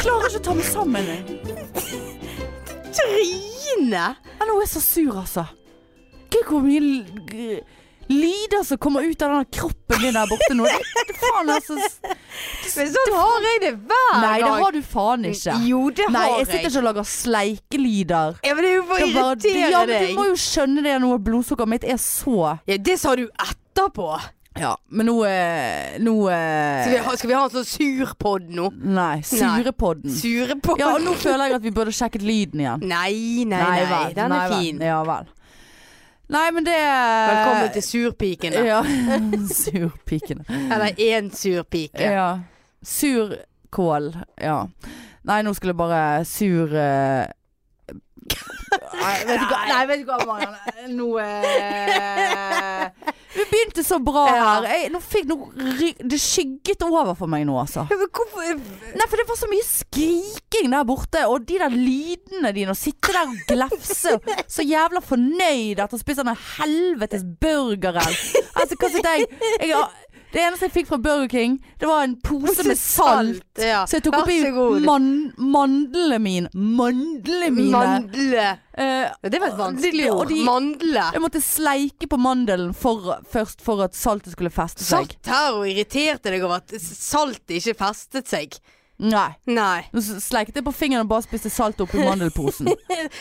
klarer ikke å ta meg sammen. jeg. Trine! Ja, Nå er jeg så sur, altså. Gud, hvor mye l- g- lyder som kommer ut av den kroppen din der borte nå. Det, faen, altså. s- Men sånn har jeg det hver gang. Nei, det har du faen ikke. Jo, det Nei, har jeg sitter ikke og lager sleikelyder. Ja, men det er jo for å Det er bare- irritere ja, men deg. du må jo skjønne det når blodsukkeret mitt er så Ja, det sa du etterpå. Ja, men nå eh, Nå eh, Skal vi ha, skal vi ha en sånn surpod nå? Nei, surepodden. Surepod? Mm. Ja, og nå føler jeg at vi burde sjekket lyden igjen. Nei, nei, nei. vel, den nei er vel. fin. Ja vel. Nei, men det Velkommen til surpiken. da. Ja. Surpikene. Eller én surpike. Ja. Surkål. Ja. Nei, nå skulle jeg bare sur eh, Nei, vet du hva, nei, vet du hva Marianne. Nå eh, Vi begynte så bra Ja. her. Jeg, nå fikk, nå, ry- det skygget over for meg nå, altså. Ja, men hvorfor Nei, for det var så mye skriking der borte, og de der lydene dine, og sitte der og glefse, og så jævla fornøyd etter å spise den helvetes burgeren. Altså, hva sitter jeg, jeg har- Det eneste jeg fikk fra Burger King, det var en pose med salt. Ja. Så jeg tok Vær oppi så god. man, mandlene mine. Mandlene mine. Mandle. Eh, Ja, det var et de- vanskelig og ord. de- Mandle. jeg måtte sleike på mandelen for, først for at saltet skulle feste seg. Satt her og irriterte deg over at saltet ikke festet seg. Nei. Nei. Nå sleikte jeg på fingeren og bare spiste salt oppi mandelposen.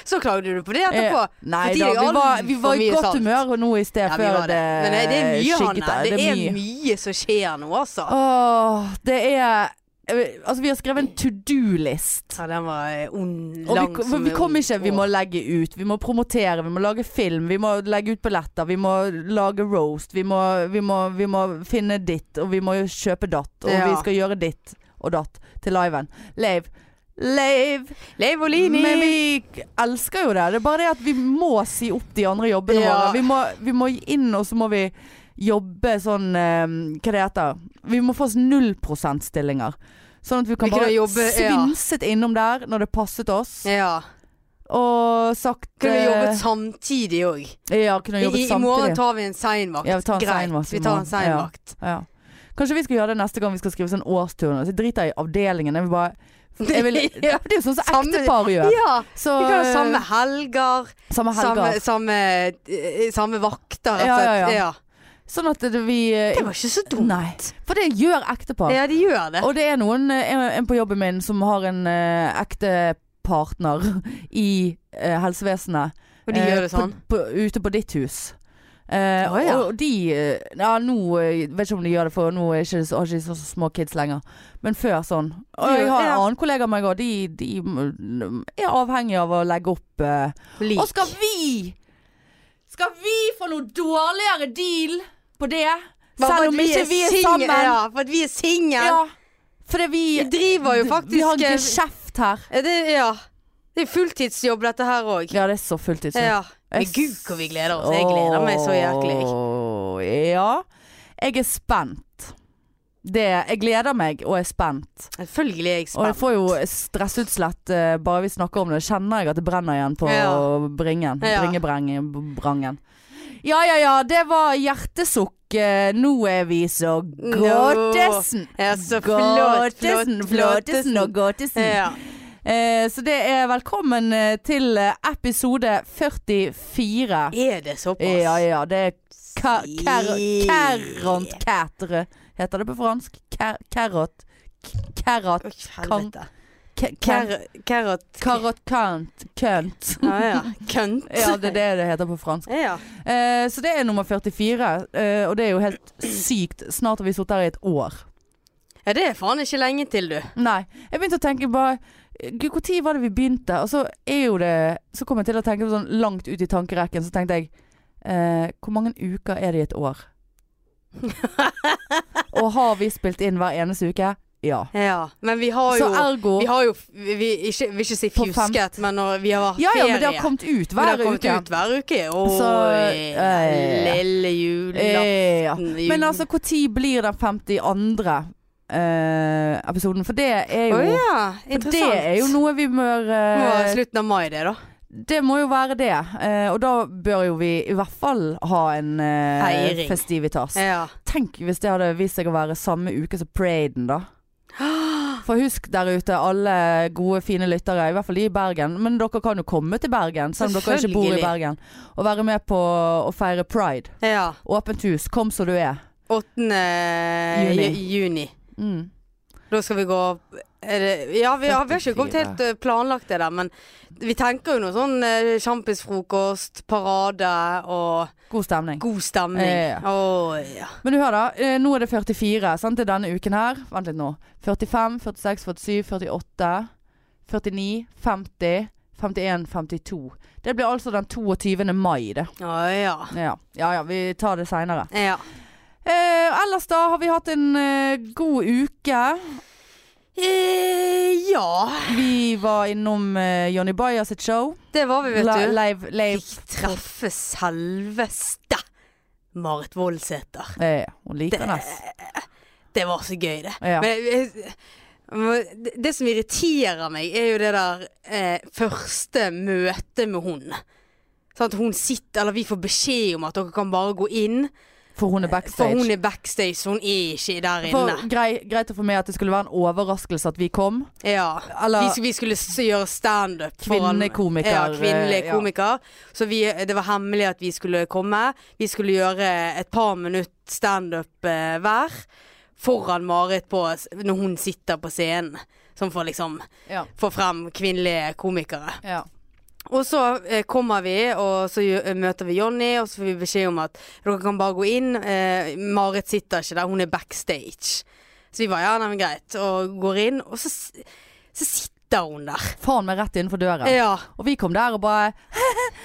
Så klagde du på det etterpå. Eh, Nei Fordi da, det er vi var, alt vi for var i mye godt salt. humør nå i sted Ja, vi før var det. Men eh, det, det er mye, skygget Hanne. der. Det, er mye. som skjer nå, altså. Åh, det er Altså, vi har skrevet en to do-list. Ja, den var eh, ond, Og vi, lang ko- som vi en kom ond ikke. Vi må legge ut, vi må promotere, vi må lage film, vi må legge ut billetter, vi må lage roast, vi må, vi må, vi må finne ditt, og vi må kjøpe datt, og Ja. vi skal gjøre ditt og datt til liven. Leiv. Leiv! Leiv Olini! Men vi elsker jo det. Det er bare det at vi må si opp de andre jobbene Ja. våre. Vi må, vi må inn, og så må vi jobbe sånn eh, Hva det heter Vi må få oss 0 %-stillinger. Sånn at vi kan Vi kan bare jobbe- ja. svinset innom der når det passet oss. Ja. Og sagt Kunne eh, jobbet samtidig òg. Ja, kunne I, jobbet I morgen samtidig. tar vi en seinvakt. Ja, vi tar en Greit, seinvakt i vi tar en morgen. Ja. seinvakt. Ja. Kanskje vi skal gjøre det neste gang vi skal skrive sånn årsturnus. Jeg driter i avdelingen. Jeg vil bare jeg vil, Det Ja. er jo sånn som Samme- ektepar Ja. gjør. Vi Så, kan ha eh, samme helger, samme helger. samme, samme, eh, samme vakter, rett og Ja, ja, slett. ja. Ja. Sånn at det- vi eh, Det var ikke så dumt. Nei, for det gjør ektepar. Ja, de gjør det. Og det er noen, eh, en en på jobben min som har en eh, ekte partner i eh, helsevesenet. Og de eh, gjør det sånn. På, på, ute på ditt hus. Eh, Å, ja. Og de eh, Ja, nå eh, vet ikke om de gjør det, for nå er ikke, har ikke så så små kids lenger. Men før sånn. Og jeg har en Ja. annen kollega av meg òg. De, de mm, er avhengig av å legge opp eh, Lik. og skal vi Skal vi få noe dårligere deal på det? Bare for Selv at om ikke vi er sing- sammen. Ja, for at vi er singel. Ja. Fordi vi, Vi driver jo vi har faktisk en eh, geskjeft her. er det, ja. det er fulltidsjobb, dette her òg. Ja, det er så fulltidsjobb. Ja. Men Jeg- gud, hvor vi gleder oss. Jeg gleder meg så jæklig. jeg. Åh, Ja. Jeg er spent. Det, jeg gleder meg og er spent. Selvfølgelig er jeg Og jeg spent. får jo stressutslett eh, bare vi snakker om det. Kjenner jeg at det brenner igjen på Ja. bringen. Ja. Bringebreng- Brangen. Ja ja ja, det var hjertesukk. Eh, Nå er vi så gåtesen. Ja, så flott, flott, Gåtesen, flåtesen flottesen. og gåtesen. Ja. Eh, så det er velkommen eh, til eh, episode 44. Er det såpass? Ja ja, det er ka- kar- Carrot catre. Heter det på fransk? Car- Carrot. Carrot. Oi, helvete. Ca- car- Kar- Carrot Carrot cunt. Cunt. Ja, ja. Kønt. Ja, det er det det heter på fransk. Ja. Eh, så det er nummer 44, eh, og det er jo helt sykt. Snart har vi sittet her i et år. ja, det er faen ikke lenge til, du. Nei. Jeg begynte å tenke bare Gud, hvor tid var det vi begynte? Og så er jo det Så kom jeg til å tenke på sånn langt ut i tankerekken, så tenkte jeg eh, Hvor mange uker er det i et år? og har vi spilt inn hver eneste uke? Ja. Ja. Men vi har Så jo ergo Vi har jo vi, vi, ikke, vil ikke si På fem- fjusket, men når vi har vært Ja ja, men det ferie. har kommet ut Men det hver har kommet uke. ut hver uke. Oi, Så, eh, lille julaften. Eh, ja. jul- Men altså, når blir den 52. Eh, episoden? For det er Å jo ja, for Det interessant. er jo noe vi bør eh, Nå er det slutten av mai, det, da. Det må jo være det. eh, Og da bør jo vi i hvert fall ha en eh, Feiring. festivitas. Ja. Tenk hvis det hadde vist seg å være samme uke som paraden, da. For husk der ute, alle gode, fine lyttere, i hvert fall de i Bergen. Men dere kan jo komme til Bergen, selv om dere ikke bor i Selvfølgelig. Bergen. Og være med på å feire pride. Ja. Åpent hus, kom som du er. 8. Juni. Juni. juni. Mm. Da skal vi gå er det, Ja, vi har, vi har ikke kommet 44. helt eh, planlagt det der, men vi tenker jo noe sånn eh, sjampisfrokost, parade og God stemning. god stemning. Ja, ja, ja. Å ja. Men du hør da, eh, nå er det 44 sant? Det er denne uken her. Vent litt nå. 45, 46, 47, 48, 49, 50, 51, 52. Det blir altså den 22. mai, det. Å ja. Ja ja, ja vi tar det seinere. ja. Eh, ellers da har vi hatt en eh, god uke. Eh, ja. Vi var innom eh, Jonny Bayer sitt show. Det var vi, vet La- du. Live, live. Fikk treffe selveste Marit Voldsæter. Eh, hun liker Det- Ness. Det var så gøy, det. Ja. Men jeg, jeg, men det- det som irriterer meg, er jo det der eh, første møtet med hun. Sånn at hun sitter, eller vi får beskjed om at dere kan bare gå inn. For hun er For backstage. hun er backstage, så hun er ikke der For inne. grei, greit å få med at det skulle være en overraskelse at vi kom. Ja. Vi, Eller sk- vi skulle s- gjøre standup foran Kvinnekomiker, Ja, eh, kvinnelig ja. komiker. Så vi, det var hemmelig at vi skulle komme. Vi skulle gjøre et par minutt standup eh, hver foran Marit på, s- når hun sitter på scenen. Som for liksom ja. få frem kvinnelige komikere. Ja. Og så eh, kommer vi, og så gjø- eh, møter vi Jonny, og så får vi beskjed om at dere kan bare gå inn. Eh, Marit sitter ikke der, hun er backstage. Så vi bare ja, nei, men greit, og går inn, og så, s- så sitter hun der. Faen meg rett innenfor døren. Ja. Og vi kom der og bare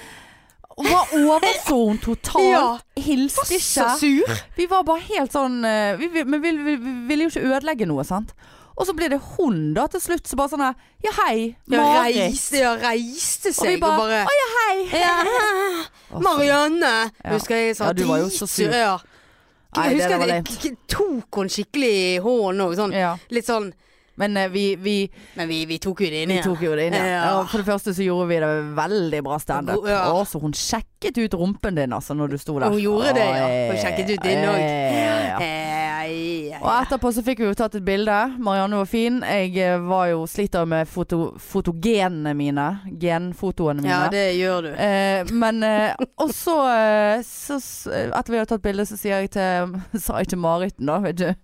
Og var overså hun totalt. Ja. Hilste Så ikke. sur. Vi var bare helt sånn eh, vi, vi, Men vi, vi, vi ville jo ikke ødelegge noe, sant. Og så blir det hun da til slutt som bare sånn her Ja, hei, Ja, Marit. reiste, ja, reiste Og vi seg bare, og bare Å ja, hei. ja. Å, Marianne! Ja. Husker jeg sa Ja, du var jo så dritsur. sur. Ja. Nei, det Jeg der husker var jeg leit. k- k- tok hun skikkelig i hånden òg. Sånn, Ja. litt sånn Men eh, vi, vi, Men vi, vi tok jo det inn vi igjen. tok jo det inn. Ja. Ja. Ja, for det første så gjorde vi det veldig bra standup. Ja. Og så hun sjekket ut rumpen din altså når du sto der. Hun gjorde det, ja. Oi. Hun sjekket ut din Ja, òg. ja, ja. Og etterpå så fikk vi jo tatt et bilde. Marianne var fin. Jeg eh, var jo sliter jo med foto, fotogenene mine. Genfotoene mine. Ja, det gjør du. Eh, men eh, Og så, eh, så s- Etter vi har tatt bilde, så sier jeg til Sa jeg til Marit da, vet du.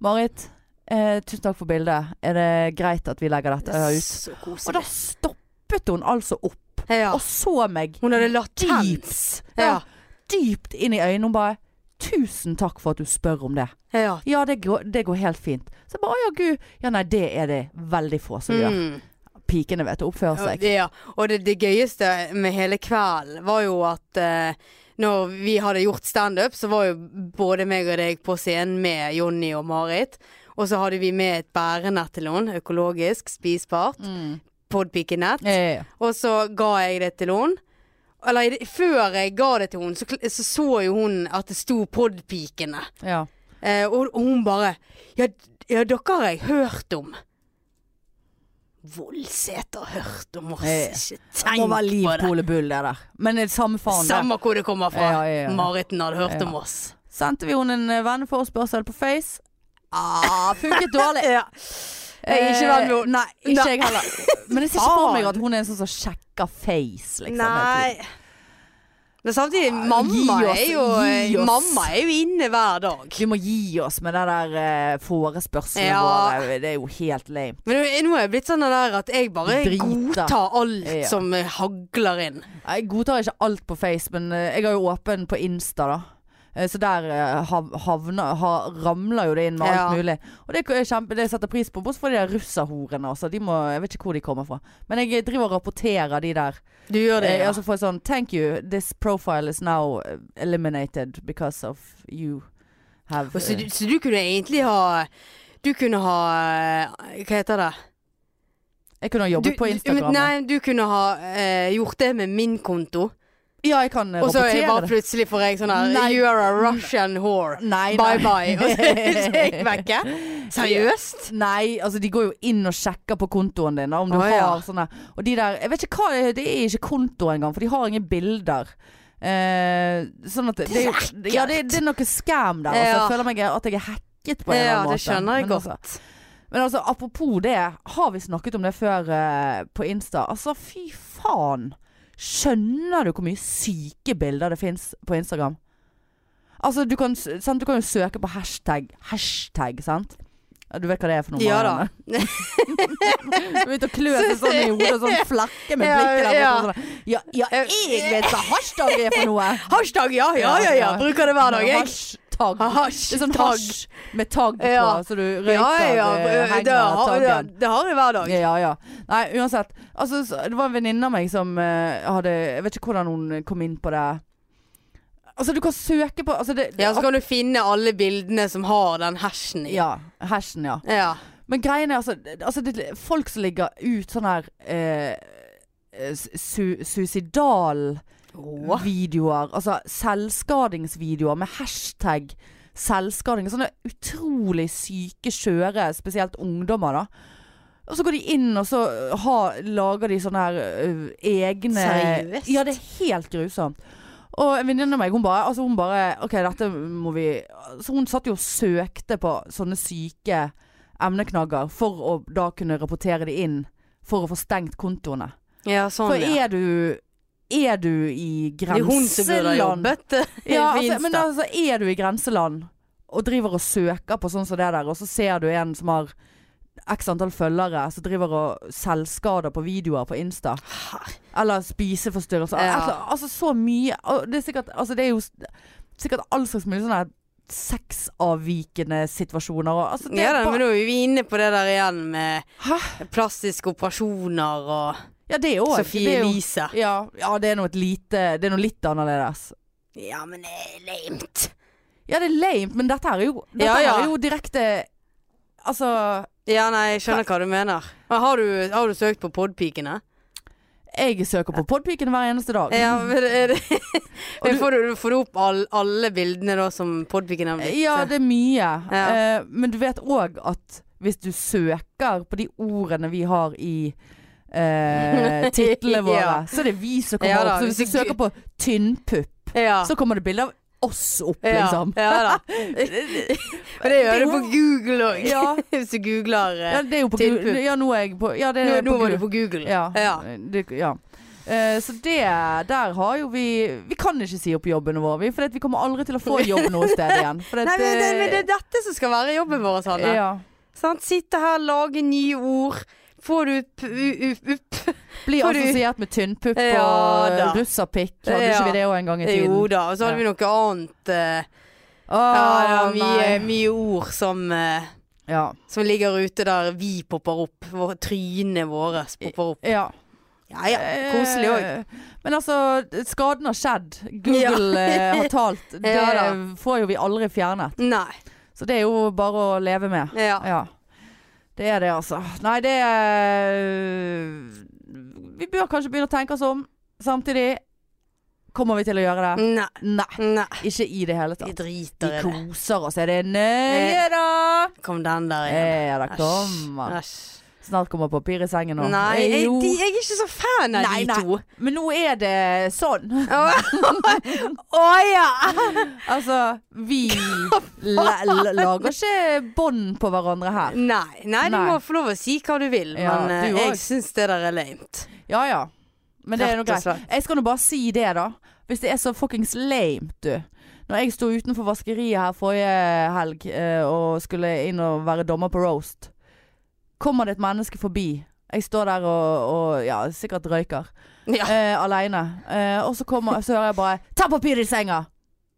Marit, eh, tusen takk for bildet. Er det greit at vi legger dette ut? Så Og da koselig. stoppet hun altså opp Ja. og så meg Hun hadde dypt, latens. ja, Ja. dypt inn i øynene. Hun bare 'Tusen takk for at du spør om det'. ja. Ja, det går, det går helt fint. Så jeg bare, å ja, gud. Ja, nei, det er det veldig få som gjør. Mm. Pikene vet å oppføre Og, seg. det- ja. og det, det gøyeste med hele kvelden var jo at eh, når vi hadde gjort standup, så var jo både meg og deg på scenen med Jonny og Marit. Og så hadde vi med et bærenett til henne, økologisk, spisbart. Mm. Podpikenett. Ja, ja, ja. Og så ga jeg det til hun Eller i det- før jeg ga det til hun så, kl- så så jo hun at det sto podpikene ja. eh, og, og hun bare ja, d- ja, dere har jeg hørt om Voldsæter hørt om oss Ja. Ikke Må være tenk på det livpole bull, det der. Men det er samme faen, det. Samme hvor det kommer fra Ja, ja, ja. Mariten hadde hørt Ja. om oss Sendte vi henne en eh, venneforespørsel på Face. ah, Funket dårlig. ja. Jeg er ikke venn med henne Eh, Nei, ikke Nei. jeg heller. Men jeg ser ikke for Faen. meg at hun er en sånn som sjekker Face, liksom. hele tiden. Nei Men samtidig, Ah, mamma gi oss, er jo gi oss. Mamma er jo inne hver dag Vi må gi oss med det der eh, forespørslene Ja. våre. Det er jo helt lame. Men nå- nå er jeg blitt sånn der at jeg bare Drita. godtar alt Ja. som eh, hagler inn. Jeg godtar ikke alt på Face, men eh, jeg er jo åpen på Insta, da. Eh, Så der eh, hav- havner, ha, ramler jo det inn med alt Ja. mulig. Og det er kjempe, det setter jeg pris på. Bortsett fra de der russerhorene. Altså. De må, jeg vet ikke hvor de kommer fra. Men jeg driver og rapporterer de der. Du gjør det, Eh, ja. altså får jeg sånn Thank you, this profile is now eh, eliminated because of you have Og så, eh, du, så du kunne egentlig ha Du kunne ha eh, Hva heter det? Jeg kunne ha Du, jobbet på du- men Instagram. ja. nei, du kunne ha eh, gjort det med min konto. Ja, jeg kan eh, Og så er jeg rapportere bare det. plutselig får jeg sånn her Nei. You are a Russian whore. Nei, nei. Bye bye. Og så er jeg vekke. Seriøst? Nei, altså de går jo inn og sjekker på kontoen din da, om du Å, ja. har sånne Og de der, jeg vet ikke hva det er, det er ikke konto engang, for de har ingen bilder. Eh, sånn at det, det, er jo- ja, det, det er noe scam der. Altså. Ja. Jeg føler meg at jeg er hacket på en Ja, eller annen måte. det skjønner jeg Men godt. altså, Men altså, apropos det, har vi snakket om det før eh, på Insta? Altså, fy faen. Skjønner du hvor mye syke bilder det fins på Instagram? Altså, du kan, s- sant? du kan jo søke på hashtag hashtag, sant? Ja, Du vet hva det er for noe? Ja da. Marianne. Begynte å klø seg sånn i hodet og sånn flakke med Ja, blikket der borte. ja. Eh, og Sånn. Ja, ja, jeg vet hva hashtag er for noe! Hashtag, ja, ja, ja, ja. Bruker det hver dag, jeg. Hashtag. Hasj. Det er sånn tagg. hasj med tagg på, Ja. så du røyker Ja, ja. det Det, det, henger har, det, taggen. det har jeg hver dag. Ja, ja. Nei, uansett. Altså, så, det var en venninne av meg som eh, hadde Jeg vet ikke hvordan hun eh, kom inn på det. Altså, du kan søke på altså, det, Ja, så kan du finne alle bildene som har den hashen i. ja, hashen, ja. Ja. Men greien er altså, det- altså det, Folk som ligger ut sånn her eh, eh, su suicidal videoer, altså selvskadingsvideoer med hashtag selvskading. Sånne utrolig syke, skjøre, spesielt ungdommer, da. Og så går de inn, og så øh, ha, lager de sånne her ø, egne Seriøst? Ja, det er helt grusomt. Og en venninne av meg, hun bare, altså hun bare OK, dette må vi Så hun satt jo og søkte på sånne syke emneknagger for å da kunne rapportere de inn. For å få stengt kontoene. ja, sånn, For ja. er du Er du i Det er hun som burde ha grenseland jobbet eh, ja, på altså, Insta. men altså er du i grenseland og driver og søker på sånn som det der, og så ser du en som har X antall følgere som driver og selvskader på videoer på Insta. Eller spiseforstyrrelser. Ja. Altså, altså så mye. og Det er sikkert, altså, det er jo s- sikkert all slags mulig sånne her sexavvikende situasjoner. Og, altså, det Ja da, er men bare, nå er vi inne på det der igjen med Hæ? plastiske operasjoner og ja, det er jo det Sophie er jo- Elise. Ja, ja, det er noe et lite Det er noe litt annerledes. Ja, men det er lamet. Ja, det er lame, men dette her er jo, dette Ja, ja. Her er jo direkte Altså Ja, nei, jeg skjønner hva du mener. Men har du, har du søkt på podpikene? Jeg søker på podpiken hver eneste dag. Ja, men er det Og du- Får du, får du opp all, alle bildene da som podpikene har blitt? Ja, det er mye. Ja. Eh, men du vet òg at hvis du søker på de ordene vi har i eh, titlene våre, Ja. så er det vi som kommer Ja da, opp. Så hvis hvis du du- søker på tynnpupp, ja. så kommer det bilde av oss opp, ja, liksom. ja da. Men det gjør du på Google òg. Ja. Hvis du googler eh, Ja, det er jo på Tynnpupp. Gu- Ja, nå er jeg på Ja, det Nå, er nå på var Gu- du på Google. Ja. Ja. Det, ja. Eh, så det Der har jo vi Vi kan ikke si opp jobbene våre, vi, for vi kommer aldri til å få jobb noe sted igjen. For eh, Nei, men det, men det er dette som skal være jobben vår, Hanne. ja. Sant? Sitte her, lage nye ord. Få det ut, u- u- opp. Bli Fordi- assosiert med tynnpupp Ja, da. og russerpikk. Hadde Ja. ikke vi det òg en gang i tiden? Jo da. Og så Ja. hadde vi noe annet. eh, Åh, ja, ja, eh, mye, nei. mye ord som, eh, Ja. som ligger ute der vi popper opp. Vår, trynene våre popper opp. ja. Ja ja, koselig òg. Eh, Men altså, skaden har skjedd. Google eh, har talt. Det Ja, da. får jo vi aldri fjernet. Nei. Så det er jo bare å leve med. Ja. Ja. Det er det, altså. Nei, det er Vi bør kanskje begynne å tenke oss om. Samtidig kommer vi til å gjøre det. Nei. Nei. Nei. Ikke i det hele Vi tatt. Vi driter i det. koser oss. Er det nøye, da? Kom den Eh, der igjen. Ja, det Æsj, kommer. æsj. Snart kommer papir i sengen nå. Nei, Eh, jeg, jo. de, jeg er ikke så fan av Nei, de nei. to. Men nå er det sånn. Å ja! Altså, vi la la- lager ikke bånd på hverandre her. Nei, nei, du Nei. må få lov å si hva du vil, Ja, men eh, du jeg òg. syns det der er lamet. Ja ja. Men det er nå Rett og greit. slett. Jeg skal nå bare si det, da. Hvis det er så fuckings lame, du. Når jeg sto utenfor vaskeriet her forrige helg eh, og skulle inn og være dommer på roast, kommer det et menneske forbi. Jeg står der og, og ja, sikkert røyker. Ja. Eh, Aleine. Eh, og så, kommer, så hører jeg bare 'ta papiret i senga'.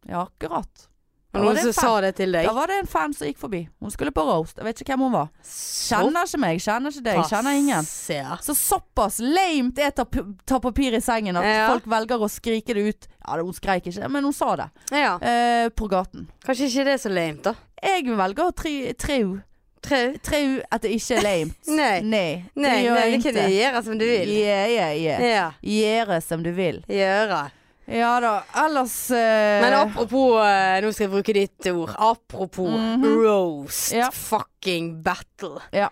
Ja, akkurat. Da Og var, noen det som en sa fan, det til deg. da var det en fan som gikk forbi. Hun skulle på roast. Jeg vet ikke hvem hun var. Kjenner ikke meg, kjenner ikke deg, kjenner ingen. Passer. Så såpass lamet er ta, p- ta papir i sengen at Ja. folk velger å skrike det ut. Ja, det- hun skreik ikke, men hun sa det. Ja. Eh, på gaten. Kanskje ikke det er så lamet, da. Jeg velger å tri- tro Tre. Tro at det ikke er lamet. Nei. Nei, Nei, det gjør nei, jeg det kan du ikke. gjøre som du vil. Ja, ja, ja. Ja. Gjøre som du vil. Gjøre. Ja da, ellers eh, Men apropos eh, Nå skal jeg bruke ditt ord. Apropos roast Mhm. Ja. fucking battle. Ja.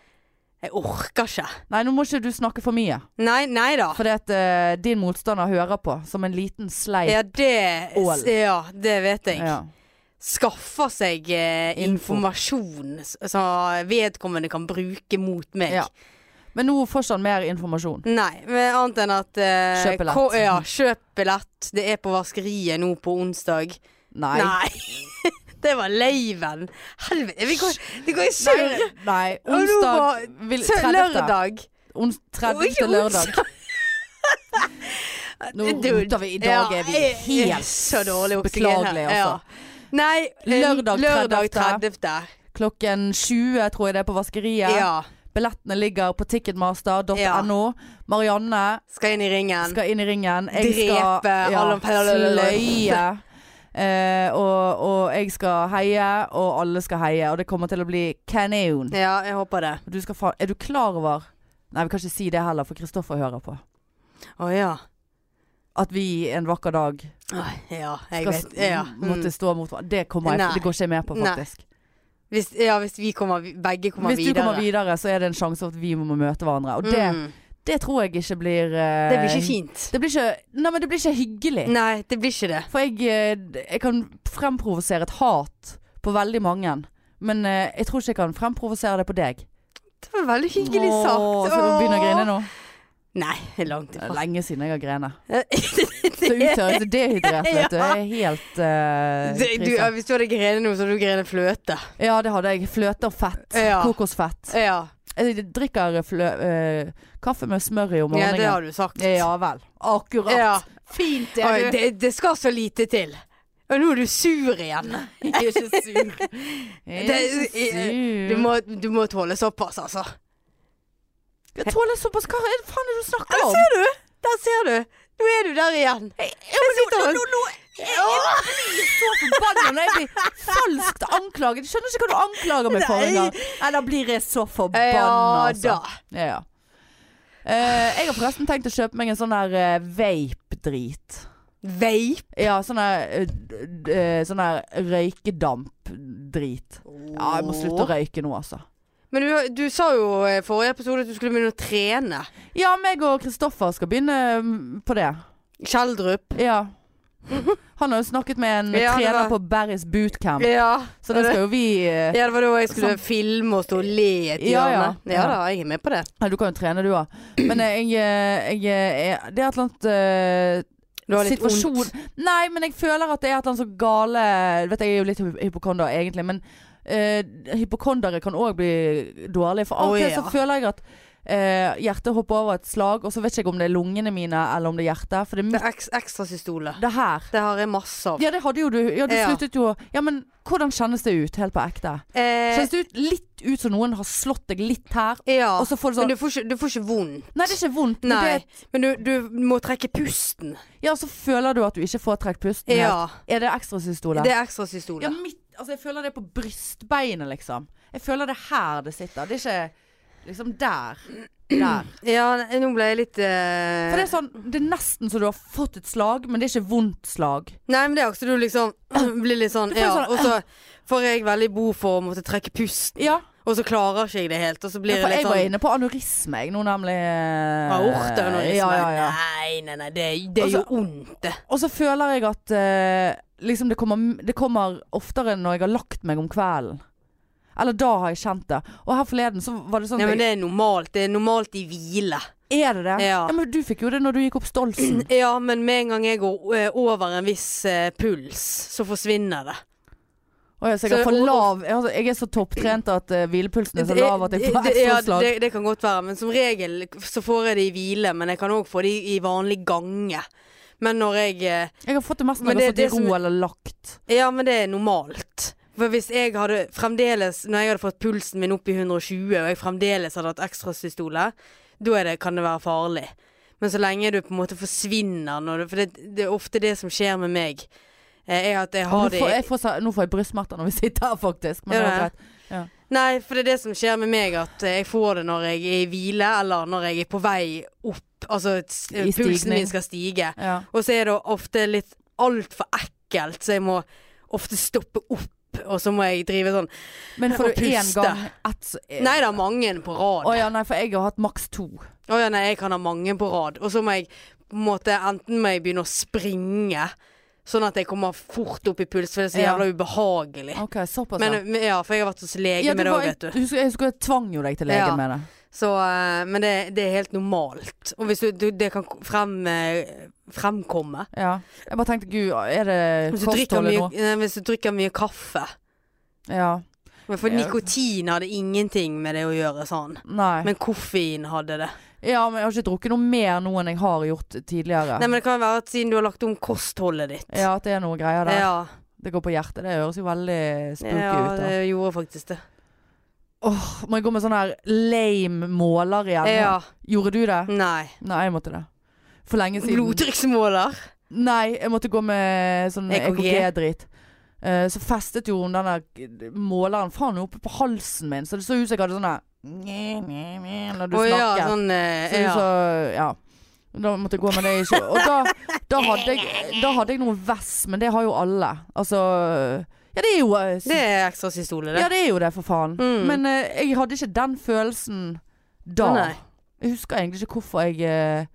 Jeg orker ikke. Nei, nå må ikke du snakke for mye. Nei, nei da. Fordi at eh, din motstander hører på som en liten sleip. Ja, det Ål. Ja, det vet jeg. Ja. skaffer seg eh, Info. informasjon s- som vedkommende kan bruke mot meg. Ja. Men nå får ikke han mer informasjon. Nei, men annet enn at eh, Kjøp billett. ko- Ja, kjøp billett. Det er på vaskeriet nå på onsdag. Nei. Nei. det var leiven. Helvete. Vi går, vi går i surr. Nei, nei. Og nå Onsdag var- vil, Sø- 30. Lørdag. Ons- Og 30. ikke lørdag. onsdag. Nå Dude. roter vi. I dag Ja, er vi jeg- jeg er helt så dårlig oksygen her. beklagelig, altså. Ja. Nei, eh, Lørdag lørdag 30.. 30. Klokken 20 tror jeg det er på Ja. vaskeriet. Billettene ligger på ticketmaster.no. Ja. Marianne Skal inn i ringen. skal inn i ringen. Drepe skal alle- sløye. Eh, og, og jeg skal heie, og alle skal heie. Og det kommer til å bli kanon. Ja, jeg håper det. Du skal fa er du klar over Nei, vi kan ikke si det heller, for Kristoffer hører på. Å ja. At vi en vakker dag Åh, ja, jeg skal vet ja. s- Mm. måtte stå mot hverandre. Det, kommer jeg, Nei. det går ikke jeg med på, Nei. faktisk. Hvis, ja, hvis vi kommer, vi- begge kommer Hvis du videre. kommer videre, så er det en sjanse for at vi må møte hverandre. Og det, mm. det tror jeg ikke blir eh, det blir ikke fint. Det blir ikke Nei, men det blir ikke hyggelig. Nei, det blir ikke det. For jeg, eh, jeg kan fremprovosere et hat på veldig mange. Men eh, jeg tror ikke jeg kan fremprovosere det på deg. Det var veldig hyggelig Åh, sagt. Skal du begynne å Åh. grine nå? Nei, det er langt Det er ifra. lenge siden jeg har grenet. Så det, uttørret og dehydrert, vet du. Jeg er helt eh, det, du, ja, krise. hvis du hadde grenet nå, så hadde du grenet fløte. Ja, det hadde jeg. Fløte og fett. Ja. Kokosfett. Ja, Jeg Eh, drikker flø eh, kaffe med smør i om ja morgenen. det har du sagt. Ja vel. Akkurat. Ja. Fint Oi, det, det skal så lite til. Og nå er du sur igjen. Jeg er ikke sur. Jeg er Det- ikke sur. Du må, du må tåle såpass, altså. Jeg tåler såpass Hva er det faen er det du snakker om? Ser du? Der ser du. Nå er du der igjen. Jeg sitter og Åh, så forbanna når jeg blir falskt anklaget. Jeg skjønner ikke hva du anklager meg for Nei. engang. Nei, da blir jeg så forbanna, Ja altså. da. Ja, ja. Eh, jeg har forresten tenkt å kjøpe meg en sånn der eh, vape-drit. Vape. Ja, sånn der eh, d- d- eh, Sånn der røykedamp-drit. Ja, jeg må slutte å røyke nå, altså. Men du, du sa jo i forrige episode at du skulle begynne å trene. Ja, meg og Kristoffer skal begynne mm, på det. Kjeldrup. Ja. Han har jo snakket med en Ja, det trener var- på Barry's bootcamp, Ja. så det skal jo vi eh, Ja, det var da jeg skulle filme og stå og le i et Ja, ja. hjørne. Ja, Ja. da, jeg er med på det. Nei, du kan jo trene du òg. Men eh, jeg, eh, jeg eh, er- Det er et eller annet eh, Du har litt situasjon vondt. Nei, men jeg føler at det er et eller annet så gale Du vet, jeg er jo litt hy- hypokonder egentlig, men eh, hypokondere kan òg bli dårlige. For av og Å, til ja. så føler jeg at eh, hjertet hopper over et slag, og så vet jeg ikke om det er lungene mine eller om det er hjertet. For det er Det midt er ek ekstrasystole. det her. Det har jeg masse av. Ja, det hadde jo du. Ja, du Ja. sluttet jo å Ja, men hvordan kjennes det ut, helt på ekte? Eh, Kjennes det ut litt ut som noen har slått deg litt her, ja. og så får du Men sånn du får ikke, du får ikke vondt. Nei, det er ikke vondt. Men det Nei. Men du, du må trekke pusten. Ja, så føler du at du ikke får trukket pusten. helt. Ja. Er det ekstrasystole? Det er Ja, ekstrasystole. mitt, altså jeg føler det på brystbeinet, liksom. Jeg føler det her det sitter. Det er ikke liksom der. Der. Ja, nå ble jeg litt eh, For det er sånn, det er nesten så du har fått et slag, men det er ikke vondt slag. Nei, men det er også du liksom blir litt sånn Du får Ja. sånn, Og så får jeg veldig behov for å måtte trekke pusten. Ja, Og så klarer ikke jeg det helt, og så blir for det jeg litt var sånn inne på anorisme, jeg nå nemlig. eh, Aorteanorisme. Ja, ja, ja. Nei, nei, nei, det, det er jo ondt, det. Og så føler jeg at eh, liksom det, kommer, det kommer oftere når jeg har lagt meg om kvelden. Eller da har jeg kjent det. Og her forleden så var det sånn Nei, at men det er normalt. Det er normalt i hvile. Er det det? Ja. men Du fikk jo det når du gikk opp Stolsen. Ja, men med en gang jeg går eh, over en viss eh, puls, så forsvinner det. Å, jeg, så jeg, er Så- for og- og- lav, altså, jeg er så topptrent at eh, hvilepulsen er så lav at jeg får Det- det- ja, ekstraslag. det, det kan godt være, men som regel så får jeg det i hvile, men jeg kan òg få det i, i vanlig gange. Men når jeg eh, Jeg har fått det mest når Men jeg har det- fått i ro det som- eller lagt. Ja, men det er normalt. For hvis jeg hadde fremdeles Når jeg hadde fått pulsen min opp i 120, og jeg fremdeles hadde hatt ekstrasystole, da er det- kan det være farlig. Men så lenge du på en måte forsvinner når du For det, det er ofte det som skjer med meg. eh, Er at jeg har Nå det får, jeg får, sa- nå får jeg brystsmerter når vi sitter her, faktisk. Men Ja, det var det. greit. Nei, for det er det som skjer med meg, at eh, jeg får det når jeg er i hvile, eller når jeg er på vei opp. Altså s- I pulsen stigning. min skal stige. Ja. Og så er det ofte litt altfor ekkelt, så jeg må ofte stoppe opp. Og så må jeg drive sånn Men får Og du én puste. gang ett eh, Nei, det er mange på rad. Å ja, nei, for jeg har hatt maks to. Å ja, nei, jeg kan ha mange på rad. Og så må jeg på en måte Enten må jeg begynne å springe, Sånn at jeg kommer fort opp i puls, for det er så Ja. jævla ubehagelig. OK, såpass. Men, ja. men ja, for jeg har vært hos lege ja, med det var- òg, vet jeg, du. husker- jeg husker jeg tvang jo deg til legen Ja. med det. Så, eh, men det, det er helt normalt. Og hvis du, du det kan k- frem, eh, fremkomme Ja. Jeg bare tenkte gud, er det hvis du, drikker kostholdet mye, nå? nei, hvis du drikker mye kaffe Ja. Men For Ja. nikotin hadde ingenting med det å gjøre sånn. Nei. Men koffein hadde det. ja, men jeg har ikke drukket noe mer nå enn jeg har gjort tidligere. Nei, men det kan være at siden du har lagt om kostholdet ditt. Ja, at det er noe greier der. ja, Det går på hjertet. Det høres jo veldig spooky ja ut. da. det gjorde faktisk det. Åh, Må jeg gå med sånn her lame måler igjen? Ja. Mm. Gjorde du det? Nei. Nei, jeg måtte det. For lenge siden. Blodtrykksmåler. Nei, jeg måtte gå med sånn EKG. EKG-drit. Eh, så festet jo hun den der måleren faen oppe på halsen min, så det så ut som jeg hadde sånn der nye, nye, nye, Når du Å ja, snakker. sånn eh, Så, ja. så, ja. Da måtte jeg gå med det i kjø- Og da, da, hadde jeg, da hadde jeg noe vess, men det har jo alle. Altså Ja, det er jo eh, Det er ekstra systole, det. Ja, det er jo det, for faen. Mm. Men eh, jeg hadde ikke den følelsen da. Å, nei. Jeg husker egentlig ikke hvorfor jeg eh,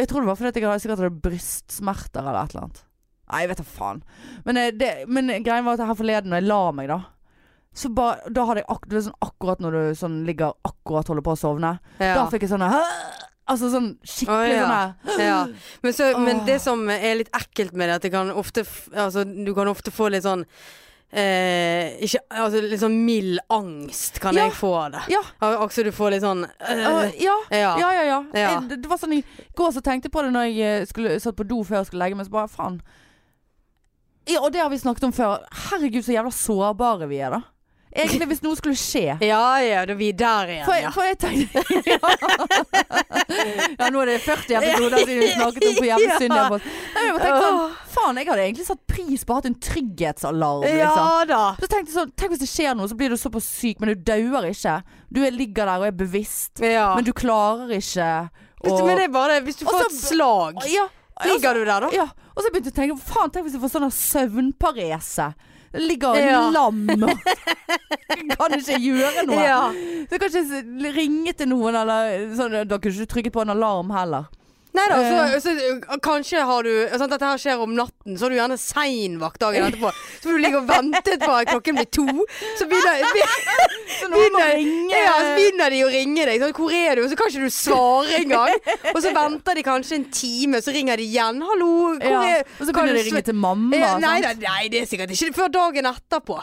Jeg tror det var fordi at jeg hadde- sikkert hadde brystsmerter eller et eller annet. Nei, jeg vet da faen. Men, eh, det, men greien var at her forleden, når jeg la meg, da så ba, da hadde jeg ak det er sånn akkurat når du sånn ligger akkurat holder på å sovne. Ja. Da fikk jeg sånn Altså sånn skikkelig Å, ja. sånn her Ja. Men, så, men Åh. det som er litt ekkelt med det, at det kan ofte, f- altså, du kan ofte få litt sånn eh, ikke, altså, Litt sånn mild angst kan Ja. jeg få av det. Ja. Al- Altså du får litt sånn «Åh, øh, ja. ja. Ja, ja, ja. Ja. Jeg, det- det var sånn I går så tenkte jeg på det når jeg eh, skulle, satt på do før jeg skulle legge meg, så bare faen. Ja, og det har vi snakket om før. Herregud, så jævla sårbare vi er, da. Egentlig, hvis noe skulle skje. ja, ja, da er vi der igjen, For, ja. jeg- for jeg tenkte ja. nå er det 40 episoder siden vi snakket om hvor jævlig synd det er på oss. Nei, men Jeg bare tenkte sånn Faen, jeg hadde egentlig satt pris på å ha hatt en trygghetsalarm, liksom. Ja da. Så tenkte jeg sånn, Tenk hvis det skjer noe, så blir du såpass syk, men du dauer ikke. Du er- ligger der og er bevisst, Ja. men du klarer ikke Hvis- men det er bare det. Hvis du Og får så- et slag, ja, altså, ligger du der da? ja. Og så begynte jeg å tenke Faen, tenk hvis jeg får sånn her søvnparese. Jeg ligger Ja. lam og kan ikke gjøre noe. Ja. Så jeg kan ikke s- ringe til noen eller sånn, Da kunne ikke du trykket på en alarm heller. Nei da, så, Eh. så uh, kanskje har du sant, Dette her skjer om natten, så har du gjerne sein vakt dagen etterpå. Så får du ligge og vente på at klokken blir to. Så begynner, be- Så noen må begynner, ringe ja, så begynner de å ringe deg. Sånn, 'Hvor er du?' Og så kan ikke du svare engang. Og så venter de kanskje en time, så ringer de igjen. 'Hallo, hvor ja. er Og så begynner de å ringe til mamma. Eh, nei, sant? nei, nei, det er sikkert ikke før dagen etterpå.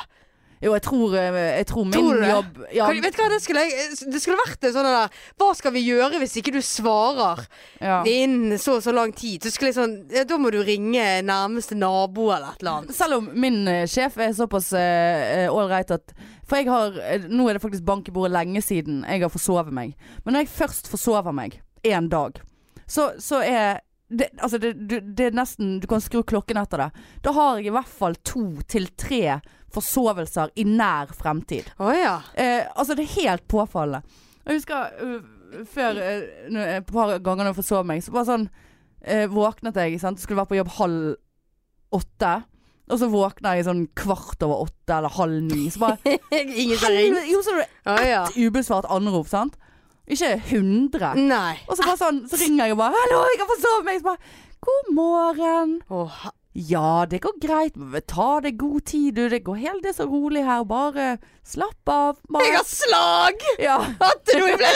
Jo, jeg tror, eh, jeg tror min Tror du det? jobb ja, Kan, vet du hva, det skulle, jeg- det skulle vært en sånn der 'Hva skal vi gjøre hvis ikke du svarer?' ja. innen så og så lang tid. Så skulle jeg sånn ja, Da må du ringe nærmeste nabo eller et eller annet. Selv om min eh, sjef er såpass eh, eh, all right at For jeg har eh, Nå er det faktisk bank i bordet lenge siden jeg har forsovet meg. Men når jeg først forsover meg en dag, så, så er det, altså det, du, det er nesten Du kan skru klokken etter det. Da har jeg i hvert fall to til tre forsovelser i nær fremtid. Å ja. Eh, altså, det er helt påfallende. Jeg husker øh, før øh, nå- et par ganger når jeg forsov meg, så bare sånn eh, våknet jeg, sant? skulle være på jobb halv åtte. Og så våkner jeg sånn kvart over åtte eller halv ni. Så bare Ingen som ringer. helvete, Jo, så er det Å ja. ett ubesvart anrop, sant? Ikke hundre. Nei. Og så bare sånn, så ringer jeg og bare 'Hallo, jeg har forsovet meg!' Så bare 'God morgen'. Å, ha- Ja, det går greit. men Ta deg god tid, du. Det går helt det er så rolig her. Bare slapp av. Bare. jeg har slag! ja. At du ble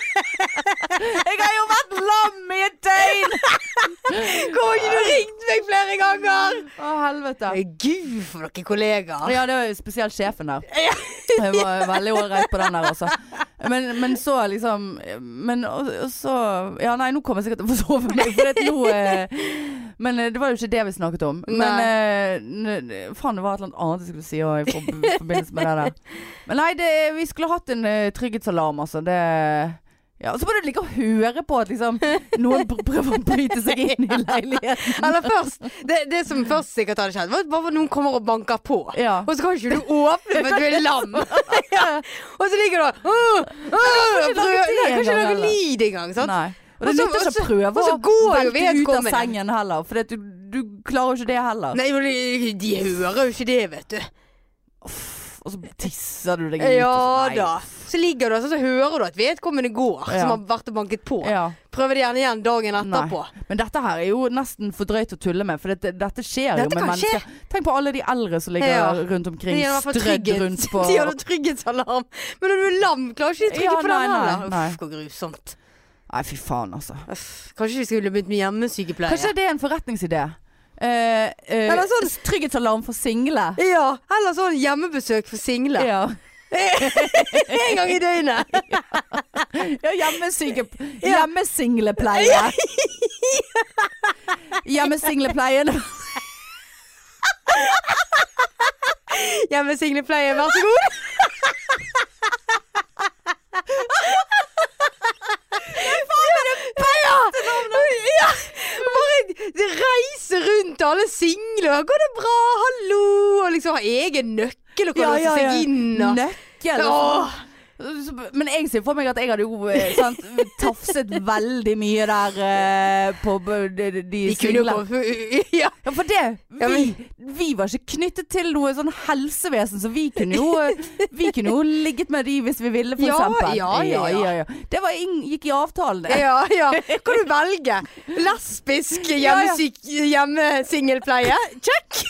Jeg har jo vært lam i et døgn! Kom ikke du ringte meg flere ganger! Å, helvete. Gud, for dere kollegaer. Ja, det var jo spesielt sjefen der. Jeg var veldig ålreit på den der, altså. Men, men så liksom Men og, og så Ja, nei, nå kommer jeg sikkert til å forsove meg, for det er nå eh, Men eh, det var jo ikke det vi snakket om. Men eh, n- faen, det var et eller annet annet jeg skulle si også i forb- forbindelse med det der. Men nei, det, vi skulle hatt en eh, trygghetsalarm, altså. Det ja, og Så må du like å høre på at liksom noen pr- prøver å bryte seg inn i leiligheten. Eller først det, det som først sikkert hadde skjedd, var at bare noen kommer og banker på. Ja. Og så kan ikke du åpne for at du er lam. ja. Og så ligger du og «Åh, åh», kan ikke lage det prøver- Nei, Kan ikke engang, lage heller. lyd engang, sant? Nei. Og det Og så- nytter og ikke så- å prøve og så å går jo velte ut av vedkommende. sengen heller, for du, du klarer jo ikke det heller. Nei, men de, de hører jo ikke det, vet du. og så tisser du deg ut. Ja og så- nei. da. Så ligger du og så- så hører du at vedkommende går, Ja. som har vært og banket på. Ja. Prøver det gjerne igjen dagen Nei. etterpå. Men dette her er jo nesten for drøyt å tulle med, for dette, dette skjer Dette jo med kan skje. mennesker. Tenk på alle de eldre som ligger Ja. rundt Men omkring, de hadde i hvert fall strødd trygghet. rundt på De hadde trygghetsalarm. Men når du er lam, klarer ikke de å trykke Ja, på nei, den nei, heller. nei. Uff, hvor grusomt. Nei, fy faen, altså. Uff, kanskje vi skulle begynt med hjemmesykepleie. Kanskje det er en forretningsidé? Eh, eh, Eller sånn- s- Trygghetsalarm for single. Ja, eller sånn hjemmebesøk for single. Ja. En gang i døgnet. Ja, hjemmesyke... Ja. Hjemmesinglepleie. Hjemmesinglepleien. Hjemmesinglepleie, vær så god. Ja, bare reise rundt til alle single og 'går det bra', 'hallo' og liksom ha egen nøkkel og kan låse seg inn og Nøkkel. altså. sånn. Åh. Men jeg ser for meg at jeg hadde jo eh, sant, tafset veldig mye der eh, på b- de, de, de De kunne jo single. gå ja. Ja, for det Ja, vi, vi var ikke knyttet til noe sånn helsevesen, så vi kunne jo, eh, vi kunne jo ligget med de hvis vi ville, for Ja, eksempel. ja, ja, ja. Det var inn, gikk i avtalen, det. ja, ja. Kan du velge? Lesbisk hjemmesyk... hjemmesingelpleie? Check!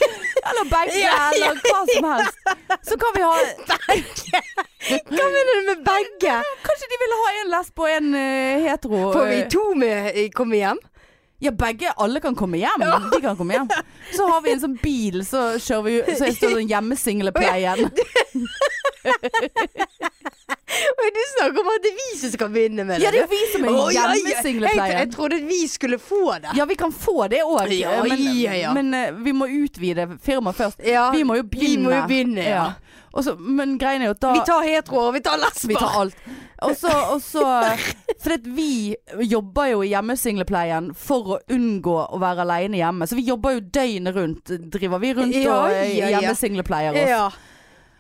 Eller begge, Ja, ja, eller hva som helst. Så kan vi ha Hva mener du med begge? Kanskje de ville ha en lesb og en eh, hetero. Får vi eh, to med komme hjem? Ja, begge. Alle kan komme hjem. De kan komme hjem. Så har vi en sånn bil, så kjører vi Så er det sånn hjemmesinglepleien. Oi, du snakker om at det er vi som skal begynne med det. Ja, det er vi som er Å, ja, ja. Jeg, jeg hjemmesinglepleien. trodde at vi skulle få det. Ja, vi kan få det òg, Ja, men, ja, ja. men eh, vi må utvide firmaet først. Ja, Vi må jo vi begynne. må jo begynne, ja. Og så- men greien er jo at da Vi tar heteroer, vi tar Vi tar lesber. alt. Og så, og så For at vi jobber jo i hjemmesinglepleien for å unngå å være aleine hjemme. Så vi jobber jo døgnet rundt. Driver vi rundt Ja, og ja, ja. hjemmesinglepleier oss. Ja.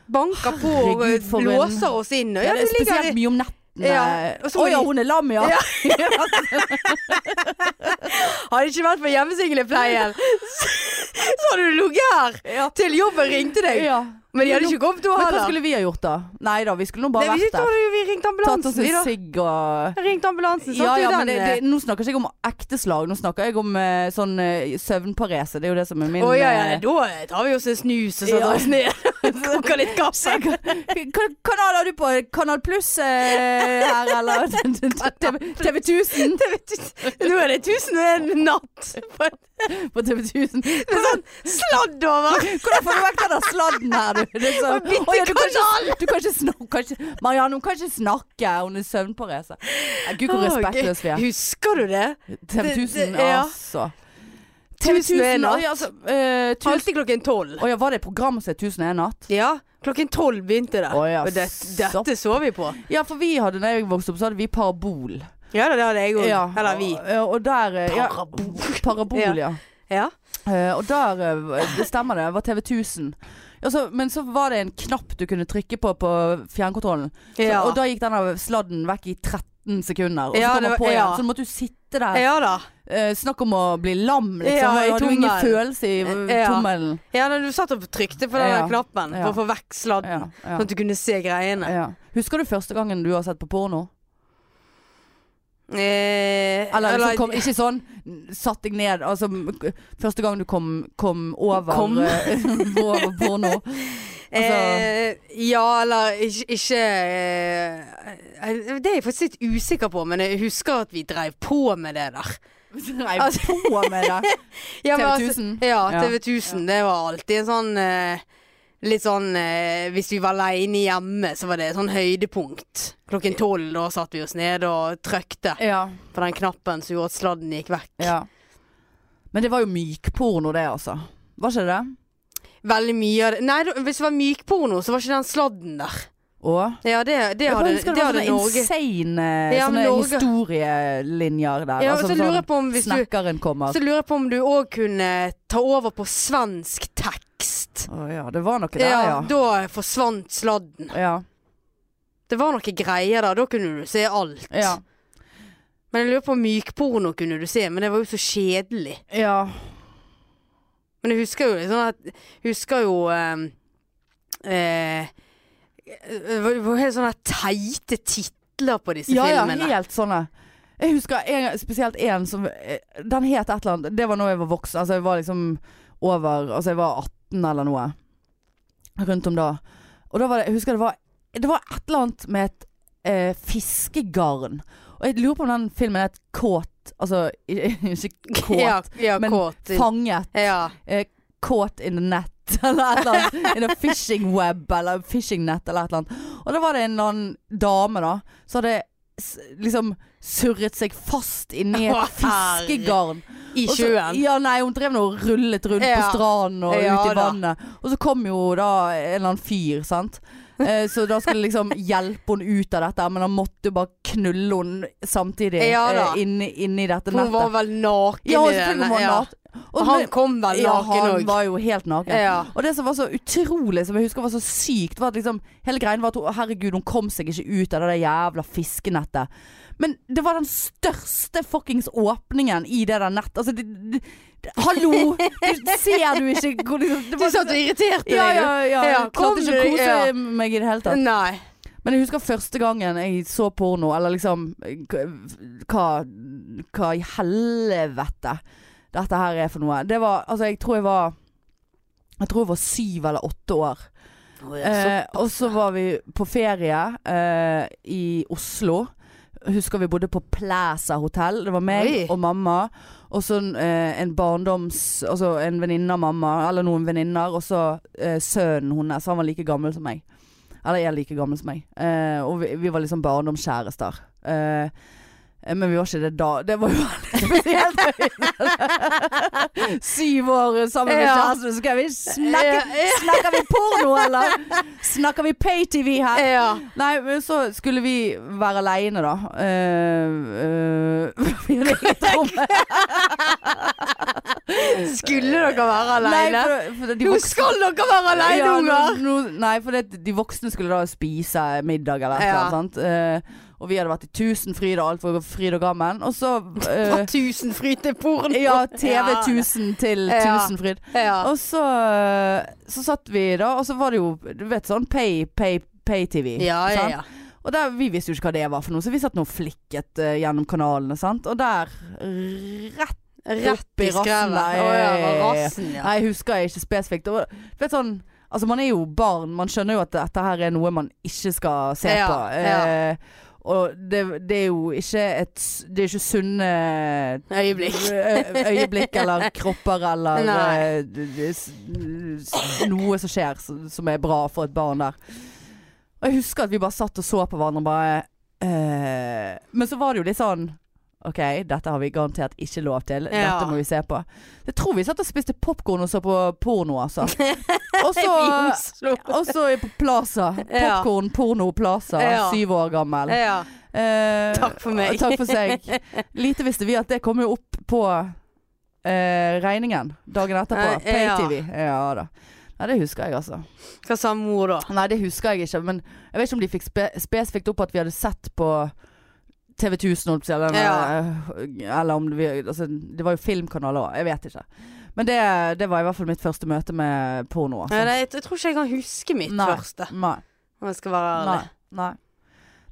Banker på og Herregud, for en- låser oss inn. Og, Ja, ja, det er du ligger spesielt mye om nettene. Ja, og Å så må ja, de- hun er lam, ja. Ja. ja. Hadde det ikke vært for hjemmesinglepleien, så, så hadde du ligget her til jobben ringte deg. Men de hadde ikke kommet da Men hva heller. skulle vi ha gjort da? Nei da, vi skulle nå Nei, bare vi, vært der. vi ringte Tatt oss ambulansen, vi en da. sigg og Ringte ambulansen, satt ja, ja, jo men den. eh, det, det, Nå snakker ikke jeg om ekte slag, nå snakker jeg om eh, sånn eh, søvnparese. Det er jo det som er min Å ja, ja, eh, da tar vi oss en snus og setter Ja. oss ned. Koker litt kaffe. Kan- kan- Kanal har du på Kanal Pluss eh, her, eller TV 1000? Nå er det 1001 natt. På TV 1000. Med sånn sladd over. Hvordan får du vekk den der sladden her, du? Det er så, Og bytte Å ja, du, kan kanal! ikke, du kan ikke snakke kan ikke, Marianne, hun kan ikke snakke. Hun er søvnparese. Nei, Gud, hvor Å, respektløse vi gøy. er. Husker du det? TV 1000, det- ja. altså. TV 1001 1000 natt. oi, altså, eh, tusen- Alltid klokken tolv. Å ja, var det et program som het 1001 natt? Ja, klokken tolv begynte det. Å, ja, Og det, sopp. dette så vi på. Ja, for vi hadde, da jeg vokste opp, så hadde vi parabol. Ja da, det hadde jeg òg. Ja, Eller vi. Og, og der eh, ja, Parabol. Parabol, Ja. ja. Ja. Eh, og der, eh, det stemmer det, var TV 1000. Altså, men så var det en knapp du kunne trykke på på fjernkontrollen. Så, Ja. Og da gikk denne sladden vekk i 13 sekunder. Og Ja, så kom det den var- på igjen. ja. Så måtte du sitte der. ja da. Eh, snakk om å bli lam, liksom. Ja, i du hadde jo ingen tommelen. følelse i eh, Ja. tommelen. Ja, da, du satt og trykte på den Ja. der knappen for Ja. å få vekk sladden. Ja, ja, Sånn at du kunne se greiene. ja. Husker du første gangen du har sett på porno? Eh, Eller liksom, kom, ikke sånn satt deg ned Altså m- første gang du kom, kom over Kom. eh, over porno. Altså- eh, ja, eller ikke, ikke eh, Det er jeg faktisk litt usikker på, men jeg husker at vi dreiv på med det der. Nei, Altså, på med det. Eh, Ja, men TV 1000. Altså, ja, Ja. TV 1000. Det var alltid en sånn eh, Litt sånn eh, Hvis vi var aleine hjemme, så var det et sånn høydepunkt. Klokken tolv, da satt vi oss ned og trykte Ja. på den knappen som gjorde at sladden gikk vekk. Ja. Men det var jo mykporno det, altså. Var ikke det det? Veldig mye av det Nei, da- hvis det var mykporno, så var ikke den sladden der. Og Ja, det, det jeg hadde, bare husker det det var sånn hadde sånne Norge. insane eh, Ja, men sånne Norge- historielinjer der. Ja, og altså, så lurer jeg sånn, på om hvis du snekkeren altså. kommer. Så lurer jeg på om du òg kunne ta over på svensk tekst. Å ja, det var noe der, ja. Ja, da forsvant sladden. Ja. Det var noe greier der. Da kunne du se alt. Ja. Men jeg lurer på om mykporno kunne du se, men det var jo så kjedelig. ja. liksom Men jeg husker jo litt sånn at Husker jo eh, eh, det var- det var Helt sånne teite titler på disse Ja, ja, filmene. helt sånne. Jeg husker en, spesielt en som eh, Den het et eller annet. Det var når jeg var voksen. Altså jeg var liksom over Altså jeg var 18 eller noe. Rundt om da. Og da var det Jeg husker det var Det var et eller annet med et eh, fiskegarn. Og jeg lurer på om den filmen het Kåt Altså ikke kåt, Ja, ja, men kåt. fanget. Ja. Caught in the net eller et eller annet. In a fishing web eller fishing net eller et eller annet. Og da var det en eller annen dame da som hadde s- liksom surret seg fast inni Å, et herre. fiskegarn. I Og så- sjøen. Ja, nei, hun drev nå og rullet rundt på Ja. stranden og Ja, ut i da. vannet. Og så kom jo da en eller annen fyr, sant. Eh, Så da skulle liksom hjelpe hun ut av dette, men han måtte jo bare knulle hun samtidig Ja, da. eh, inni, inni dette Hun var nettet. vel naken Ja, i den. selvfølgelig var hun ja. naken. Og Og han men- kom vel ja, naken han òg. var jo helt naken. Altså, Ja. Og det som var så utrolig, som jeg husker var så sykt, var at liksom Hele greien var at hun- herregud, hun kom seg ikke ut av det der jævla fiskenettet. Men det var den største fuckings åpningen i det der nettet. Altså, det, det, det, hallo! Du ser du ikke hvor liksom, det Du var- satt og irriterte ja, ja, deg. ja. Ja, Jeg klarte ikke å kom du- kose ja. meg i det hele jo. tatt. Nei. Men jeg husker første gangen jeg så porno, eller liksom eh, Hva, hva i helvete dette her er for noe. Det var Altså, jeg tror jeg var Jeg tror jeg var syv eller åtte år. Eh, og så var vi på ferie eh, i Oslo. Husker vi bodde på Plaza hotell. Det var meg Oi. og mamma. Og så eh, en barndoms... Altså en venninne av mamma, eller noen venninner. Og så eh, sønnen hennes. Han var like gammel som meg. Eller er like gammel som meg. Eh, og vi, vi var liksom barndomskjærester. Eh, eh, men vi var ikke det da. Det var jo veldig spesielt. Syv år sammen med Ja. kjæresten, så skal vi snakke Ja, ja. Snakker vi porno, eller? Snakker vi pay-TV her? ja. Nei, men så skulle vi være aleine, da. Eh, eh, vi hadde eget rom. Skulle dere være Nei, aleine? for- for de Nå voksne- skal dere være aleine, Ja, unger! nå- nå- Nei, for det, de voksne skulle da spise middag eller et eller annet. Ja. sant? Eh, og vi hadde vært i Tusenfryd og alt for fryd og gammen. Og så Fra eh, Tusenfryd til porno. Ja, TV Ja. 1000 til Ja. Tusenfryd. Ja. Og så, eh, så satt vi da, og så var det jo du vet sånn pay, pay, pay-TV. Ja, ja, sant? ja. Og der, Vi visste jo ikke hva det var for noe, så vi satt nå og flikket eh, gjennom kanalene. sant? Og der rett Rett i i skrevet. rassen der. Å ja, rassen, ja. Nei, jeg husker jeg ikke spesifikt. Og, du vet sånn, altså Man er jo barn, man skjønner jo at dette her er noe man ikke skal se Ja, på. ja. Eh, og det, det er jo ikke et s- Det er ikke sunne Øyeblikk. ø- øyeblikk eller kropper eller Nei. eh, d- d- s- s- noe som skjer s- som er bra for et barn der. Og jeg husker at vi bare satt og så på hverandre og bare eh, Men så var det jo litt sånn OK, dette har vi garantert ikke lov til. Ja. Dette må vi se på. Jeg tror vi satt og spiste popkorn og så på porno, altså. Og I så Oslo. og så på Plaza. Ja. Popkorn, porno, Plaza. Ja. Syv år gammel. Ja. Eh, Takk for meg. Takk for seg. Lite visste vi at det kom jo opp på eh, regningen dagen etterpå. Eh, ja. Pay-TV. Ja da. Nei, det husker jeg altså. Hva sa mor da? Nei, det husker jeg ikke. Men jeg vet ikke om de fikk spe spesifikt opp at vi hadde sett på TV 1000, holdt jeg på å si, eller, eh, eller om vi altså, Det var jo filmkanaler òg. Jeg vet ikke. Men det, det var i hvert fall mitt første møte med porno. Nei, Altså. det- jeg tror ikke jeg kan huske mitt Nei. første, Nei. om jeg skal være ærlig. Nei. Nei.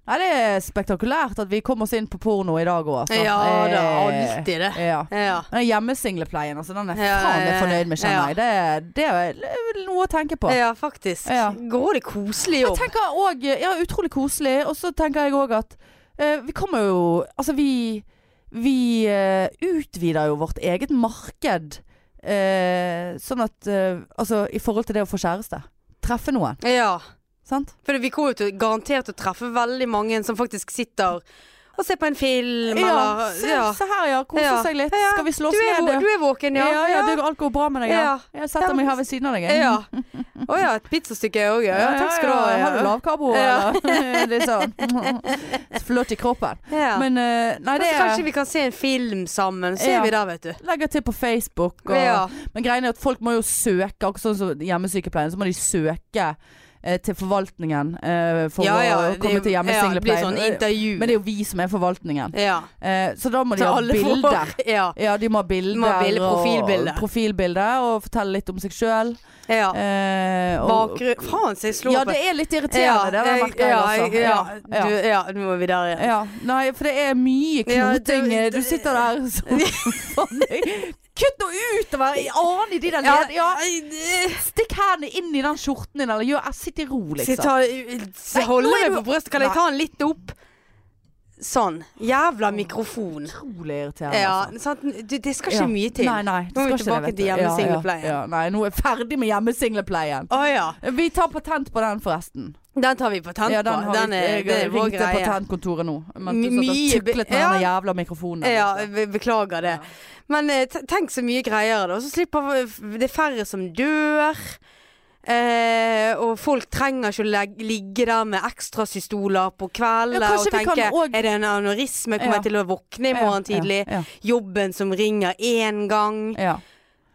Nei, det er spektakulært at vi kom oss inn på porno i dag òg. Ja da, alltid det. Ja. Ja. Men hjemmesinglepleien, altså, den er Ja, faen meg ja, fornøyd med, kjenner ja. jeg. Det, det er noe å tenke på. ja, faktisk. Ja. Går det koselig Jeg jobb? tenker òg Ja, utrolig koselig. Og så tenker jeg òg at eh, vi kommer jo Altså, vi Vi eh, utvider jo vårt eget marked. eh, sånn at eh, Altså, i forhold til det å få kjæreste. Treffe noen, Ja. sant? For vi kommer jo til garantert til å treffe veldig mange som faktisk sitter og ser på en film, Ja, eller se, ja. se her, ja. Kose Ja. seg litt. Ja. Skal vi slå Du, oss er, ned? vå- du er våken, Ja, ja. ja, det, alt går bra med deg, ja. Ja. Jeg setter meg her ved siden av deg. jeg. Ja. Å ja, et pizzastykke òg, ja. ja. Takk skal du ha. ja. Ja. Har du lavkarbo, Ja. eller? Litt sånn flott i kroppen. Ja. Men Men eh, nei, det altså, kanskje er vi kan se en film sammen. Så Ja. er vi der, vet du. Legger til på Facebook. Og, Ja. Men greien er at folk må jo søke, akkurat sånn som hjemmesykepleien, så må de søke eh, til forvaltningen eh, for ja, ja, å komme det- til Ja, det blir hjemmesinglepleien. sånn intervju. Men det er jo vi som er forvaltningen. ja. Eh, så da må de Så ha alle får- bilder. Ja. Ja, de må ha bilder, Må ha bilder, og- profilbilder. profilbilder, og fortelle litt om seg sjøl. ja. Eh, og- Bakgrunn Faen, så jeg slo ja, opp det et- er litt irriterende, det har jeg jeg- merka jeg også. Ja, ja, jeg- ja. ja. Du, ja, nå må vi der igjen. Ja, nei, for det er mye Ja, det- knoting. det- du sitter der som faen, jeg- Kutt nå utover! Jeg aner de der Ja, led... Ja, nei, det- stikk hendene inn i den skjorten din, eller gjør jeg sitt i ro, Skal jeg liksom. ta eh, så Nei, Holde nå er meg du- på brystet? Kan jeg Nei. ta den litt opp? Sånn. Jævla mikrofon. Utrolig irriterende. Ja, altså. sant? Du, det skal Ja. ikke mye til. Nei, nei, det Nå er vi skal ikke det, tilbake vet til du. Ja, ja, hjemmesinglepleien. Ja, nei, nå er jeg ferdig med hjemmesinglepleien. Å ja. Vi tar patent på den, forresten. Den tar vi patent Ja, på. den har Den vi, er, jeg det er vår ringte greie. patentkontoret nå. Men du Mye satt og be- tuklet med ja. den jævla mikrofonen. Ja, liksom. be- beklager det. Ja. Men eh, te- tenk så mye greier det. Og så slipper vi- det er færre som dør. Eh, og folk trenger ikke å legge, ligge der med ekstrasystoler på kvelden Ja, kanskje og vi kan tenke også- Er det en anorisme? Kommer Ja. jeg til å våkne i morgen tidlig? Ja, Jobben som ringer én gang, ja, ja.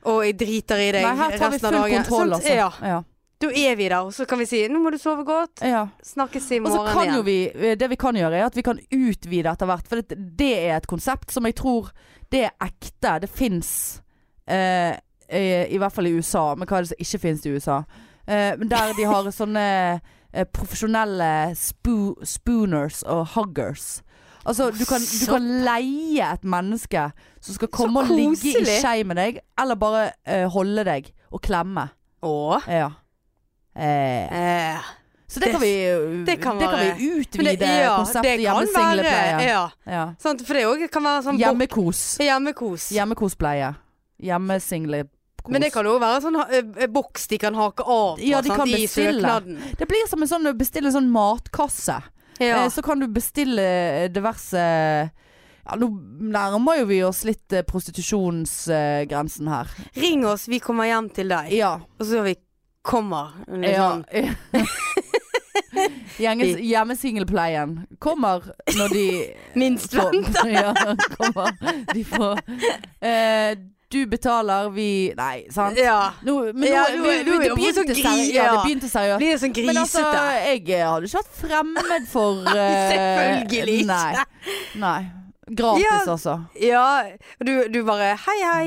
og jeg driter i deg Nei, her tar vi resten av full dagen. kontroll, Sant? altså. Ja, Ja. da er vi der, og så kan vi si 'nå må du sove godt'. Ja. Snakkes i Og så morgen kan igjen. jo vi, eh, det vi kan gjøre er at vi kan utvide etter hvert, for det, det er et konsept som jeg tror det er ekte. Det fins, eh, eh, i hvert fall i USA, men hva er det som ikke fins i USA? Eh, men der de har sånne eh, profesjonelle spo spooners og huggers. Altså, du kan, du kan leie et menneske som skal komme og ligge i koselig. skei med deg, eller bare eh, holde deg og klemme. Å. Ja. Eh, Eh. så det, Det- kan vi, det kan det være- vi Men utvide det- ja, konseptet det kan hjemmesinglepleie. være- Ja. Ja. Sant? For det òg kan være sånn bok- Hjemmekos. hjemmekos. Hjemmekospleie. Hjemmesinglepkos. Men det kan jo være sånn ø, ø, boks de kan hake av på, Ja, de sant? kan i bestille. søknaden. Det blir som en sånn, å bestille en sånn matkasse. Ja. Eh, så kan du bestille eh, diverse ja, Nå nærmer jo vi oss litt eh, prostitusjonsgrensen her. Ring oss, vi kommer hjem til deg. Ja. Og så vi kommer. ja. Liksom. Gjenges- Hjemmesinglepleien kommer når de Minst Kom- vent. ja, kom an. De får eh, Du betaler, vi Nei, sant? Ja. Nå, men nå, Ja, nå, nå er- nå er det det begynte også seri- gri- ja, det ja. begynte seriøst. Blir det sånn Men altså, grisete? jeg eh, hadde ikke vært fremmed for eh, Selvfølgelig ikke. Nei. nei. Gratis, Ja. altså. Ja, og du, du bare hei, hei.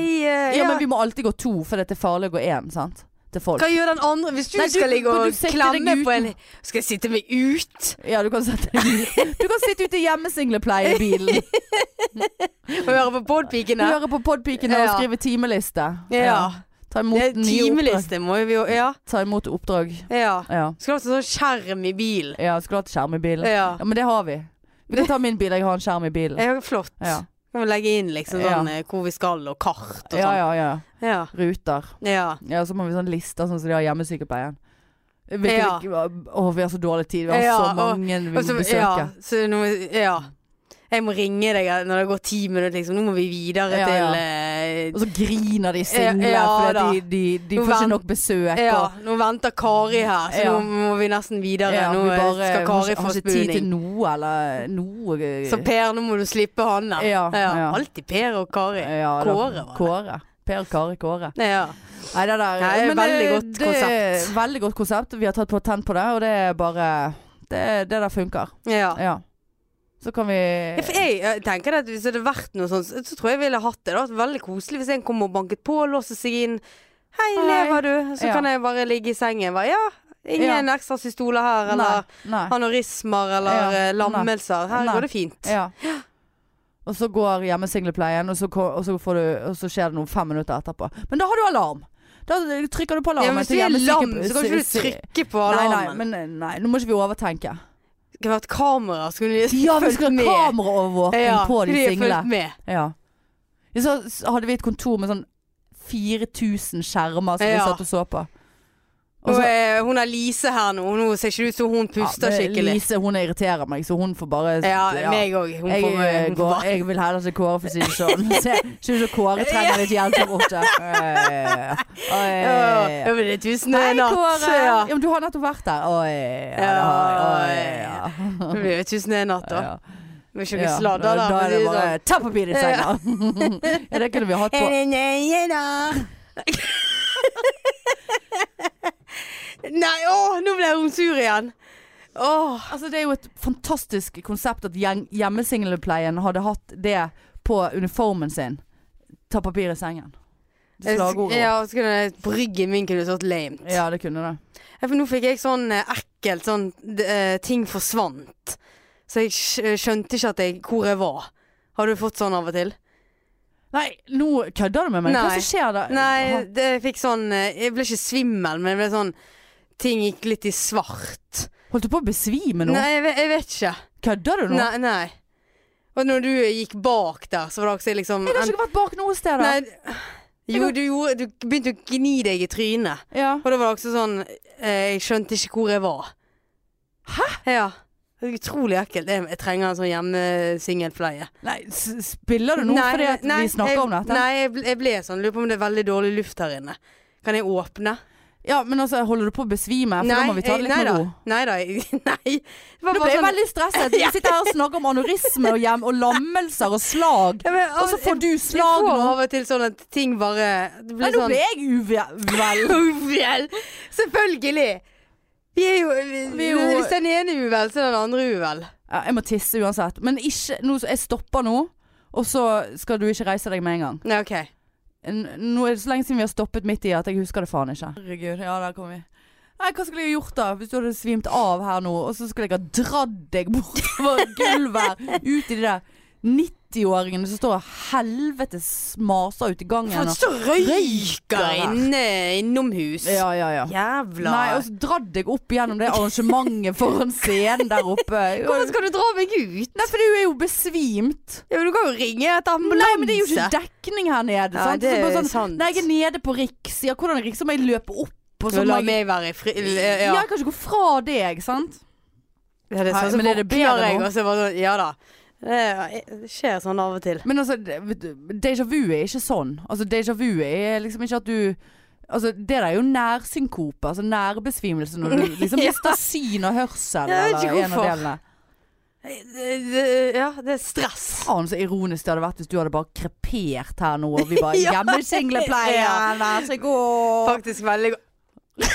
Ja, eh, ja. men vi må alltid gå to, for det er farlig å gå én, sant? Til folk. Hva gjør den andre hvis du Nei, du- skal ligge kan du og sette deg klemme ut? på en Skal jeg sitte meg ut? Ja, du kan sette Du kan sitte ute i hjemmesinglepleie i bilen. Og høre på podpikene? Høre på Podpikene og Ja. skrive timeliste. Ja. Ta Det er imot nye oppdrag. Timeliste må jo vi jo Ja. Ta imot oppdrag. ja. Ja. Skulle hatt en sånn skjerm i bilen. Ja, jeg skulle hatt skjerm i bilen. Ja. Ja, men det har vi. Vi kan ta min bil, jeg har en skjerm i bilen. ja. Flott. Ja, Kan vi legge inn liksom Ja. sånn eh, hvor vi skal og kart og ja, sånn. ja. ja. Ja. Ruter. Ja. Ja, så må vi sånn lister, sånn som de har hjemmesykepleien. Hvilket Ja. vi, å, vi har så dårlig tid. Vi har Ja, så og- mange vi må Og så- besøke. Ja, så nå, ja. Jeg må ringe deg eh, når det går ti minutter, liksom. Nå må vi Ja, videre ja. til eh, Og så griner de single Ja, fordi da. de, de, de Nå får vent- ikke nok besøk. Ja, og- nå venter Kari her, så Ja. nå må vi nesten videre. ja, nå vi eh, bare skal har Kari ikke- få har ikke tid til spooning. noe eller noe eh, Så Per, nå må du slippe han der. Ja, ja. Alltid Per og Kari. ja, da- Kåre, var det. Kåre. Per Kari Kåre. Ja. Nei, det der Nei, men veldig det- godt det er Veldig godt konsept. Vi har tatt patent på det, og det er bare Det, det der funker. ja. Ja. Så kan vi Ja, for Jeg, jeg tenker det at Hvis det hadde vært noe sånt, så tror jeg jeg ville hatt det. Det hadde vært veldig koselig hvis en kom og banket på, låste seg inn. Hei, Hei. lever du? Så Ja. kan jeg bare ligge i sengen. Bare, ja, ingen ekstra systoler her, Nei. eller nei. anorismer eller Ja. eh, lammelser. Her Nei. går det fint. Ja. Og så går hjemmesinglepleien, og, så ko- og, så får du- og så skjer det noe fem minutter etterpå. Men da har du alarm! Da trykker du på Ja, alarmen. men hvis til du er lam, hjemmesyke- så kan ikke du trykke på Nei, nei, alarmen. men eh, nei, nå må ikke vi overtenke. Det kunne vært kamera. så kunne de Ja, vi fulgt skal ha med. kameraovervåking Ja, på kunne de single. fulgt med. Ja. Ja, Så s- hadde vi et kontor med sånn 4000 skjermer som vi Ja. satt og så på. Og, Og så- eh, hun er Lise her nå. Nå ser ikke det ut som hun puster men skikkelig. Lise hun irriterer meg, så hun får bare Ja, ja. meg òg. Hun Jeg, får eh, eh, hun går, får- jeg vil heller ikke Kåre for å si det sånn. Se, Ser ut som Kåre trenger litt hjelp der borte. Oi, oi, oi, oi. Ja, men det er tusen og Eh, Hei, en natt. Kåre! Ja. Ja, men du har nettopp vært der. Oi, ja, det har jeg. Oi, ja. Det blir jo tusen og en natt, da. Ja. Vi må ikke Ja, sladre, da. Da er det for å si bare sånn. ta papiret i senga. ja, det kunne vi hatt på. Er det nøye, da? Nei, åh, nå ble hun sur igjen. Åh. Altså, det er jo et fantastisk konsept at gjeng- hjemmesinglepleien hadde hatt det på uniformen sin. Ta papir i sengen. Det Slagordet. Eh, Ja, så kunne jeg- bryggen min kunne stått lame. Ja, det kunne det. Ja, For nå fikk jeg sånn eh, ekkelt sånn d- eh, Ting forsvant. Så jeg skj- skjønte ikke at jeg, hvor jeg var. Har du fått sånn av og til? Nei, nå kødder du med meg. Nei. Hva som skjer da? Nei, det, jeg fikk sånn eh, Jeg ble ikke svimmel, men det ble sånn Ting gikk litt i svart. Holdt du på å besvime nå? Nei, jeg, ve- jeg vet ikke. Kødder du nå? Nei, nei. Og når du gikk bak der, så var det også liksom Jeg har ikke vært bak noe sted da. Nei, jo, du, gjorde, du begynte å gni deg i trynet. Ja. Og da var det også sånn eh, Jeg skjønte ikke hvor jeg var. Hæ? Ja. Det er utrolig ekkelt. Jeg, jeg trenger en sånn hjemmesingelpleie. Nei, s- spiller du nå fordi at vi snakker jeg, om dette? Nei, jeg, ble- jeg ble sånn. Lurer på om det er veldig dårlig luft her inne. Kan jeg åpne? Ja, men altså, holder du på å besvime? For da må vi ta det litt nei, med da. ro. Nei da. jeg- Nei. Det var sånn- Nå ble jeg veldig stresset. Vi sitter her og snakker om anorisme og hjem og lammelser og slag. Ja, men, Og så får du jeg slag får nå. av og til sånn at ting bare Det Nei, nå blir sånn ble jeg uvel. Uvel! Selvfølgelig! Vi er jo, Vi er jo- Hvis den ene er uvel, så er den andre uvel. Ja, jeg må tisse uansett. Men ikke nå, Jeg stopper nå, og så skal du ikke reise deg med en gang. Nei, OK. N- Nå er det så lenge siden vi har stoppet midt i at jeg husker det faen ikke. Herregud, ja der kom vi. Nei, Hva skulle jeg gjort da, hvis du hadde svimt av her nå, og så skulle jeg ha dratt deg bortover gulvet her, ut i de der 90-åringene som står og helvetes maser ute i gangen. Og... så røyker røyker her. inne innomhus. Ja, ja, ja. Jævla Nei, altså, og så dratt deg opp gjennom det arrangementet foran scenen der oppe. Hvordan skal du dra meg ut? Nei, for du er jo besvimt. Ja, men Du kan jo ringe et ambulanse. Nei, men det er jo ikke dekning her nede. Ja, sant? det Så bare er sånn, sant. Nei, jeg er nede på Riks. Ja, hvordan Riks? Så må jeg løpe opp og Så så må La jeg meg være i fri... ja. Ja. jeg kan ikke gå fra deg, sant? Ja, det er Nei, sånn, så men er våkner det bedre jeg, nå? og så bare sånn Ja da. Det skjer sånn av og til. Men altså, det- vet du, déjà vu er ikke sånn. Altså, déjà vu er liksom ikke at du Altså, det der er jo nærsynkope, altså nærbesvimelse når du liksom Ja. mister syn og hørsel Jeg vet eller ikke en av hvorfor. delene. Det- det- Ja, det er stress. Faen så ironisk det hadde vært hvis du hadde bare krepert her nå, og vi bare Ja. Hjemmesinglepleie, vær så god. Faktisk veldig godt.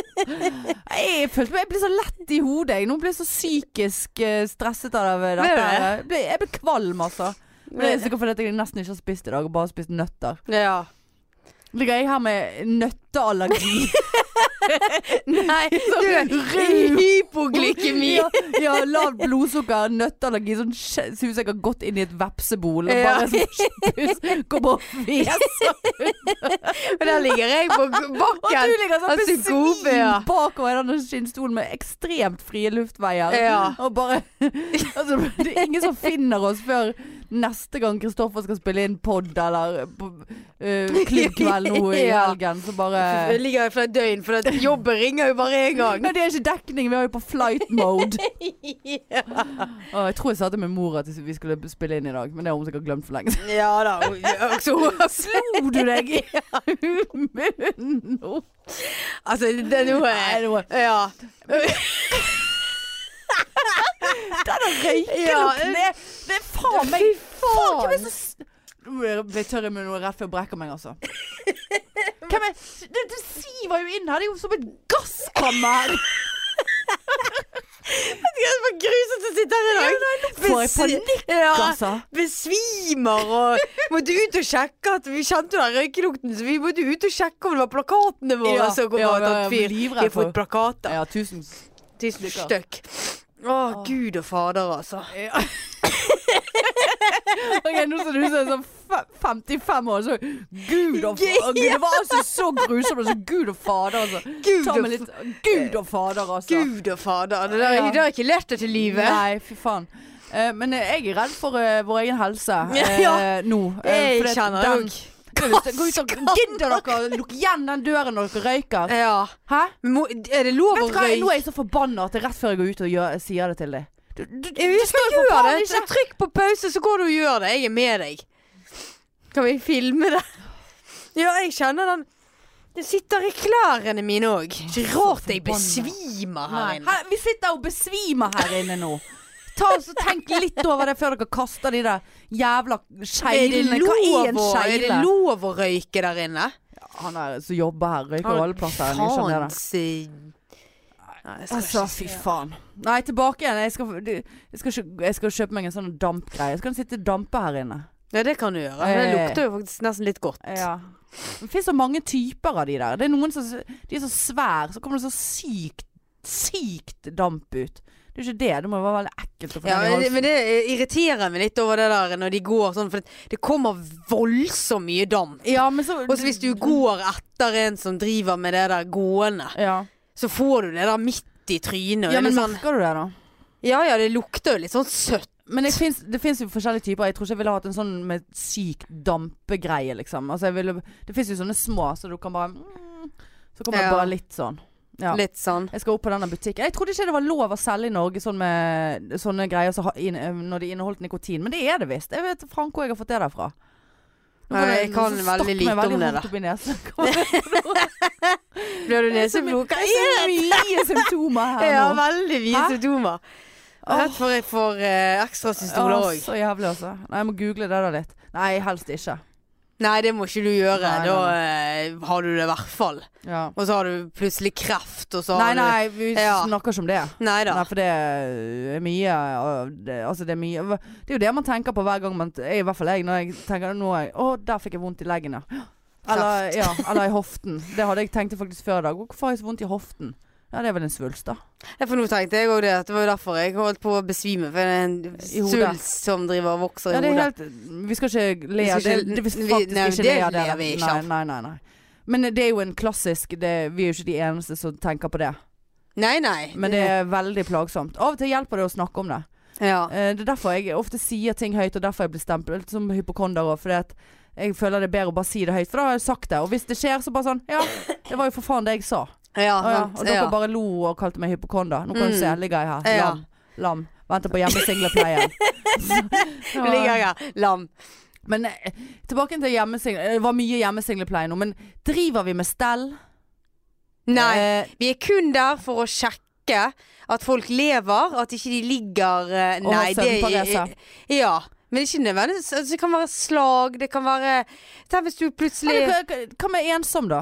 Jeg følte meg Jeg ble så lett i hodet. Jeg nå ble jeg så psykisk eh, stresset av dette. Ble du det? her. Jeg ble, jeg ble kvalm, altså. Men det er sikkert fordi at jeg nesten ikke har spist i dag, og bare har spist nøtter. Ja. Ligger jeg her med nøtteallergi? Nei, du er rød. hypoglykemi. ja, ja, lavt blodsukker, nøtteallergi. Sånn skje- ser ut som jeg har gått inn i et vepsebol og Ja. bare sånn Går bare og fjeser. Og der ligger jeg på Og bakken. du ligger sånn Altså, god, besvimt ja. bakover i denne skinnstolen med ekstremt frie luftveier. Ja. Og bare altså, Det er ingen som finner oss før neste gang Kristoffer skal spille inn pod eller på, eh, klubbkveld nå i Ja. helgen. Så bare Jeg ligger her for et døgn, for at jobben ringer jo bare én gang. Nei, det er ikke dekning. Vi er jo på flight mode. Ja. Å, jeg tror jeg sa til min mor at vi skulle spille inn i dag, men det har hun sikkert glemt for lenge siden. Ja da. hun- Også, Slo du deg i munnen nå? altså, det er noe Nei, det var- Ja. Røykelukten er Det er faen meg Fy Faen, hvem er faen. det som s- Nå ble jeg- ble jeg tørr i munnen og er redd for å brekke meg, altså. Hvem er Det, det siver jo inn her. Det er jo som et gasskammer. Det er så grusomt å sitte her i dag. Får jeg Besvi- panikk, Ja. altså? Besvimer og måtte ut og sjekke at Vi kjente jo den røykelukten, så vi måtte ut og sjekke om det var plakatene våre Ja, som kom ja, og ja, tatt jeg fyr. blir Vi livredd har for- fått plakater. Ja, tusen Tusen stykker. stykk. Å, gud og fader, altså. ja. Ok, Nå ser det ut som en sånn fe- 55 år, så Gud og fader. Gud, det var altså så grusomt. Altså, Gud og fader, altså. Gud Ta og meg litt Gud og fader, altså. Gud og fader. Det der, Ja. det har ikke lært deg til livet. Nei, fy faen. Eh, men eh, jeg er redd for eh, vår egen helse eh, Ja. nå. eh, Jeg fordi at kjenner den- òg. Det er visst- gå ut og- Gidder dere lukke igjen den døren når dere røyker? Ja. Hæ? Må, er det lov å Vet du hva, røyke? Nå er jeg så forbanna at det er rett før jeg går ut og gjør, sier det til dem. Du, du, du, Jeg skal skal jo for gjøre faen det. Trykk på pause, så går du og gjør det. Jeg er med deg. Kan vi filme det? Ja, jeg kjenner den. Det sitter i klærne mine òg. Ikke rart jeg forbanna. besvimer her Nei. inne. Her, vi sitter og besvimer her inne nå. Ta oss og Tenk litt over det før dere kaster de der jævla Er det, skeilene. Hva er en lov å, er det skeile? lov å røyke der inne? han er, som jobber her, røyker Han- rolleplasser. Jeg skjønner det. Fancy- Nei, jeg skal Altså, ikke si fy det. faen. Nei, tilbake igjen. Jeg skal, du- jeg skal, ikke, jeg skal kjøpe meg en sånn dampgreie. Jeg skal sitte og dampe her inne. Ja, det kan du gjøre. men Det Eh. lukter jo faktisk nesten litt godt. Ja. Det fins så mange typer av de der. Det er noen som De er så svære, så kommer det så sykt, sykt damp ut. Det er jo ikke det. Det må jo være veldig ekkelt å få Ja, den i men, halsen. men det eh, irriterer meg litt over det der når de går sånn, for det- det kommer voldsomt mye damp. Ja, men så Og så hvis du går etter en som driver med det der gående, Ja, så får du det der midt i trynet. og ja det er men litt sånn, merker du det, da? ja ja, det lukter jo litt sånn søtt. Men det finnes, det finnes jo forskjellige typer. Jeg tror ikke jeg ville hatt en sånn med syk dampegreie, liksom. Altså, jeg ville, det fins jo sånne små, så du kan bare mm, Så kommer Ja. det bare litt sånn. Ja. Litt sånn. Jeg skal opp på denne butikken. Jeg trodde ikke det var lov å selge i Norge sånn med sånne greier som har- inn- eh, når de inneholdt nikotin, men det er det visst. Jeg vet faen hvor jeg har fått det derfra. Nå Nei, var det jeg noe kan som veldig stakk lite meg om veldig det der. hardt opp i nesen. Blir du Det er så mye- neseblod? Hva det er er så mye symptomer her nå. Ja, veldig mye Hæ? symptomer. Jeg er redd for jeg får eh, ekstra systoler Åh, òg. så jævlig, altså. Nei, jeg må google det da litt. Nei, helst ikke. Nei, det må ikke du gjøre. Nei, nei, da eh, har du det i hvert fall. Ja. Og så har du plutselig kreft, og så Nei, har nei, vi Ja. snakker ikke om det. du Nei da. Nei, for det er mye og det, Altså det er mye Det er jo det man tenker på hver gang man I hvert fall jeg, når jeg tenker Nå er jeg Å, der fikk jeg vondt i leggen, ja. Eller, ja, eller i hoften. Det hadde jeg tenkt faktisk før i dag. Hvorfor har jeg så vondt i hoften? Ja, det er vel en svulst, da. Ja, For nå tenkte jeg òg det. at Det var jo derfor jeg holdt på å besvime. For det er en I hodet. svulst som driver og vokser Ja, i det er hodet. helt Vi skal ikke le Vi av det. skal ikke- det vi vi- skal faktisk nei, ikke det le av det. ler der. vi ikke Nei, av. nei, nei, nei. Men det er jo en klassisk det, Vi er jo ikke de eneste som tenker på det. Nei, nei. Men det er veldig plagsomt. Av og til hjelper det å snakke om det. ja. Eh, Det er derfor jeg ofte sier ting høyt, og derfor jeg blir stemplet som hypokonder òg. Fordi at jeg føler det er bedre å bare si det høyt, for da har jeg sagt det. Og hvis det skjer, så bare sånn Ja, det var jo for faen det jeg sa. Ja, Å ja, sant. og dere ja. bare lo og kalte meg hypokonder. Nå kan du Mm. se, ligger jeg her. Ja. Lam. Lam. Venter på hjemmesinglepleien. Nå ligger jeg her. Lam. Men eh, tilbake til hjemmesinglepleie. Det var mye hjemmesinglepleie nå, men driver vi med stell? Nei. Eh, Vi er kun der for å sjekke at folk lever, at ikke de ligger eh, Og har Nei, det søvnparese. Ja. Men det er ikke nødvendigvis altså, Det kan være slag, det kan være Tenk hvis du plutselig eller hva- hva med ensom, da?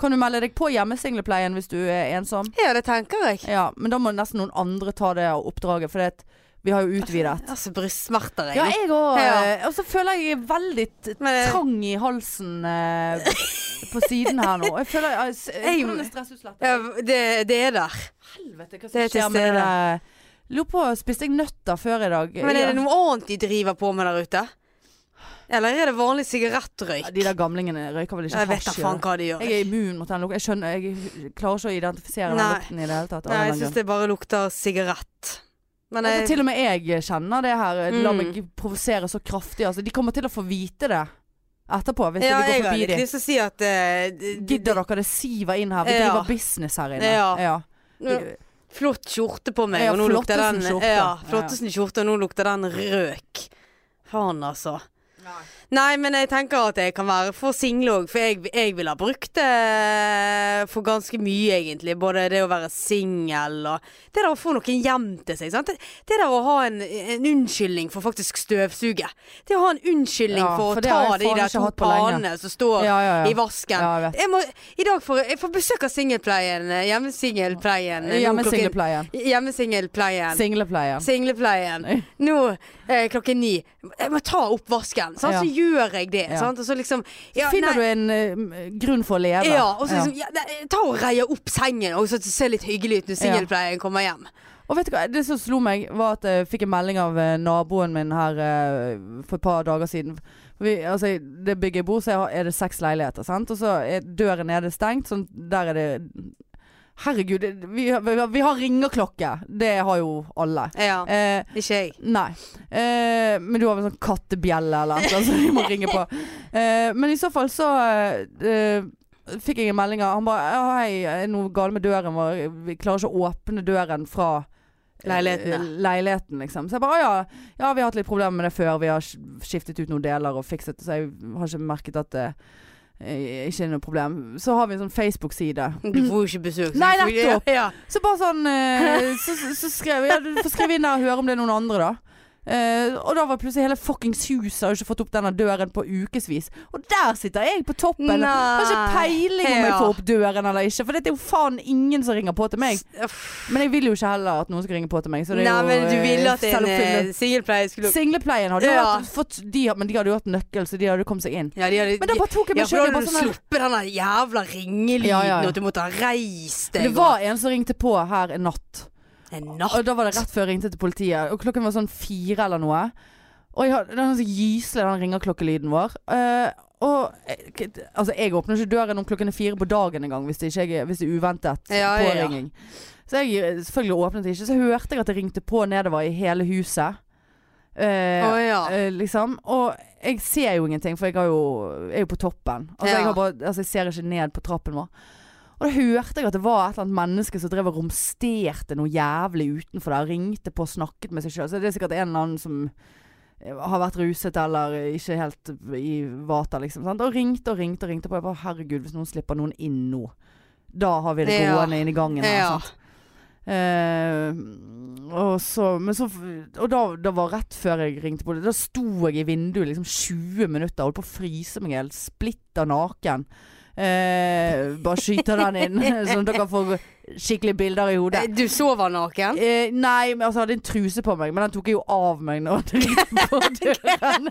Kan du melde deg på hjemmesinglepleien hvis du er ensom? Ja, det tenker jeg. Ja, men da må nesten noen andre ta det oppdraget, for det, vi har jo utvidet. Altså, brystsmerter, jeg. Ja, jeg òg. Ja. Og så føler jeg veldig t- Men- trang i halsen eh, på siden her nå. Jeg føler eh, jeg, Jeg- jeg, jeg stressutslett. Ja, det, det er der. Helvete, hva Det er som til skjer med det? Lurer på, spiste jeg nøtter før i dag? Men er Ja. det noe annet de driver på med der ute? Eller er det vanlig Ja, sigarettrøyk? De der gamlingene røyker vel ikke Jeg vet da hasj? gjør faen de? hva de gjør. Jeg er immun mot den lukten. Jeg skjønner, jeg klarer ikke å identifisere den Nei. lukten i det hele tatt. av Nei, en jeg eller annen syns det bare lukter sigarett. Men Altså, jeg, til og med jeg kjenner det her. La Mm. meg provosere så kraftig. Altså, de kommer til å få vite det etterpå, hvis de ja, jeg går har forbi litt dem. lyst til å si at eh, d- d- Gidder dere det siver inn her? Vi Ja. driver business her inne. Ja. Ja. Flott skjorte på meg, Ja, og nå lukter den flottesen skjorte. Ja, Ja. flottesen skjorte, og nå lukter den røk. Faen, altså. Nei, men jeg tenker at jeg kan være for single òg, for jeg, jeg ville ha brukt det for ganske mye, egentlig. Både det å være singel og Det der å få noen hjem til seg. Sant? Det, det der å ha en, en unnskyldning for faktisk støvsuge. Det å ha en unnskyldning Ja, for, for det å har ta jeg de faen der ikke to hatt på lenge. panene som står Ja, ja, i ja. vasken. Ja, jeg vet. jeg må, I dag får jeg får besøk av singelpleien. eh, Hjemmesingelpleien. eh, nå klokken- Hjemmesingelpleien. Hjemmesingelpleien. Singlepleien. Singlepleien. Nå eh, klokken ni. Jeg må ta opp vasken. Sant? Ja. Så gjør jeg det. Ja. Sant? Og så liksom ja, Finner nei, du en eh, grunn for å leve? ja, og så Ja. liksom, ja, nei, ta og reie opp sengen, og så at det ser litt hyggelig ut når singelpleien kommer hjem. Og vet du hva, det som slo meg var at jeg fikk en melding av eh, naboen min her eh, for et par dager siden. Vi, altså, i det bygget jeg bor, så er det seks leiligheter, sant? Og så er døren nede stengt, sånn der er det Herregud, det- vi, har- vi, har- vi har ringeklokke. Det har jo alle. Ja, Eh, ikke jeg. Nei. Eh, men du har vel sånn kattebjelle eller noe, så vi må ringe på. Eh, men i så fall så eh, fikk jeg en melding av Han bare «Ja, 'Hei, er det noe galt med døren vår? Vi klarer ikke å åpne døren fra eh, Leiligheten, ja.» leiligheten, liksom. Så jeg bare «Å ja, ja, vi har hatt litt problemer med det før. Vi har sk- skiftet ut noen deler og fikset det, så jeg har ikke merket at det eh, ikke er noe problem. Så har vi en sånn Facebook-side Eh, Du får jo ikke besøk. så Nei, du får- nettopp. Ja, ja. så bare sånn eh, så, så, så skrev jeg ja, Du får skrive inn der og høre om det er noen andre, da. Eh, og da var plutselig hele fuckings huset og ikke fått opp denne døren på ukevis. Og der sitter jeg på toppen. Nei. Har ikke peiling om jeg Ja. får opp døren eller ikke. For det er jo faen ingen som ringer på til meg. Uff. Men jeg vil jo ikke heller at noen skal ringe på til meg. Så det er Nei, jo, men du ville at eh, en selvoppfyllende. eh, singelpleier skulle Singlepleien hadde jo Ja. vært fått de, had- Men de hadde jo hatt nøkkel, så de hadde kommet seg inn. Ja, de hadde, Men da bare sånn tok jeg ja, meg for da sjøl hadde du sluppet den der jævla ringelyden, Ja, ja, ja. og at du måtte ha reist deg. Det var en som ringte på her en natt. og- en natt. Og da var det rett før jeg ringte til politiet. Og klokken var sånn fire eller noe. Og jeg hadde, den er så gyselig, den ringerklokkelyden vår. Eh, og jeg- altså, jeg åpner ikke døren om klokken er fire på dagen engang hvis det, ikke er, hvis det er uventet Ja, ja, ja. påringing. Så jeg selvfølgelig åpnet ikke. Så hørte jeg at det ringte på nedover i hele huset. Eh, Å, ja. eh, liksom. Og jeg ser jo ingenting, for jeg, har jo, jeg er jo på toppen. Altså, Ja. jeg, har bare, altså, jeg ser ikke ned på trappen vår. Og da hørte jeg at det var et eller annet menneske som drev og romsterte noe jævlig utenfor der. Ringte på og snakket med seg sjøl. Så det er sikkert en eller annen som eh, har vært ruset eller ikke helt i vater, liksom. Sant? Og ringte og ringte og ringte på. Jeg bare herregud, hvis noen slipper noen inn nå, da har vi det Ja. gående inne i gangen her. Ja. Sant? Eh, og så, men så Og da, da var rett før jeg ringte på det. Da sto jeg i vinduet liksom 20 minutter og holdt på å fryse meg i hjel. Splitter naken. Eh, bare skyter den inn, sånn at dere får skikkelige bilder i hodet. Eh, Du sover naken? Eh, nei, men altså, jeg hadde en truse på meg, men den tok jeg jo av meg når jeg ringte på døren.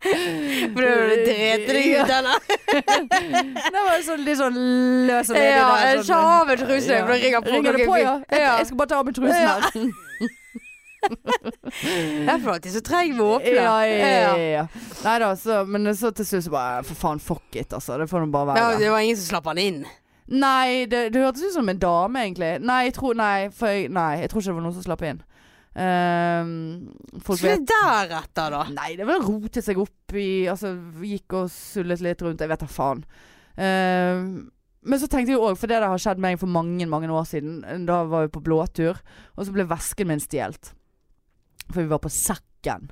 For da drepte deg Ja. ut, eller? Det var sånn, litt sånn løs og ledig. Ja, der, jeg skal ha meg truse, for da ringer på sånn- Ringer det på, ja? Jeg, Ja. jeg skal bare ta av meg trusen Ja. her. Derfor er alltid så treg med å åpne. Ja, ja, ja, ja. Nei da, så, men så til slutt så bare For faen, fuck it, altså. Det får nå bare Ja, være. Det var ingen som slapp han inn. Nei, det, det hørtes ut som en dame, egentlig. Nei, jeg tror, nei, for jeg, nei, jeg tror ikke det var noen som slapp inn. Ehm, folk Så vet det deretter, da. Nei, det var rotet seg opp i Altså, gikk og sullet litt rundt. Jeg vet da faen. Ehm, men så tenkte jeg òg, for det der har skjedd meg for mange mange år siden. Da var vi på blåtur, og så ble vesken min stjålet. For vi var på Sekken.